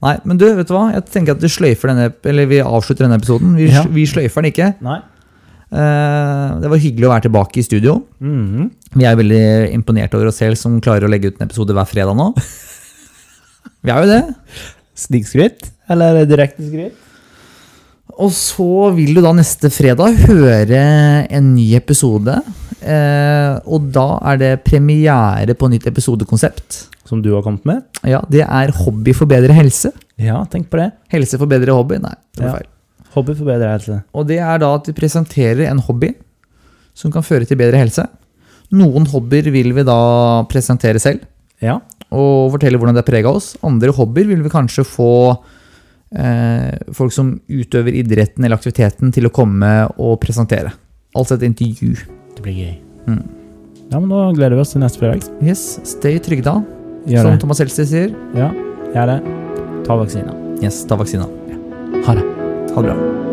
Speaker 1: Nei, men du, vet du hva? Jeg tenker at vi sløyfer denne, eller vi avslutter denne episoden. Vi,
Speaker 2: Ja.
Speaker 1: vi sløyfer den ikke.
Speaker 2: Nei.
Speaker 1: Eh, det var hyggelig å være tilbake i studio.
Speaker 2: Mhm.
Speaker 1: Vi er veldig imponert over oss selv som klarer å legge ut en episode hver fredag nå. Vi er jo det.
Speaker 2: Snikskryt? Eller direkte skryt?
Speaker 1: Og så vil du da neste fredag høre en ny episode. Eh, og da er det premiere på nytt episodekonsept.
Speaker 2: Som du har kommet med?
Speaker 1: Ja, Det er Hobby for bedre helse.
Speaker 2: Ja, tenk på det.
Speaker 1: Helse for bedre hobby. Nei, det
Speaker 2: Ja.
Speaker 1: var feil.
Speaker 2: Hobby for bedre helse.
Speaker 1: Og det er da at vi presenterer en hobby som kan føre til bedre helse. Noen hobbyer vil vi da presentere selv.
Speaker 2: Ja.
Speaker 1: og fortelle hvordan det prega oss. Andre hobbyer vil vi kanskje få eh, folk som utøver idretten eller aktiviteten til å komme og presentere. Altså et intervju.
Speaker 2: Det blir gøy.
Speaker 1: Mm.
Speaker 2: Ja, men Da gleder vi oss til neste fredag.
Speaker 1: Yes, stay trygda,
Speaker 2: Gjør
Speaker 1: som
Speaker 2: det.
Speaker 1: Sånn Thomas Helstad sier.
Speaker 2: Ja, gjør det. Ta vaksina.
Speaker 1: Yes, ta vaksina.
Speaker 2: Ha det.
Speaker 1: Ha det bra.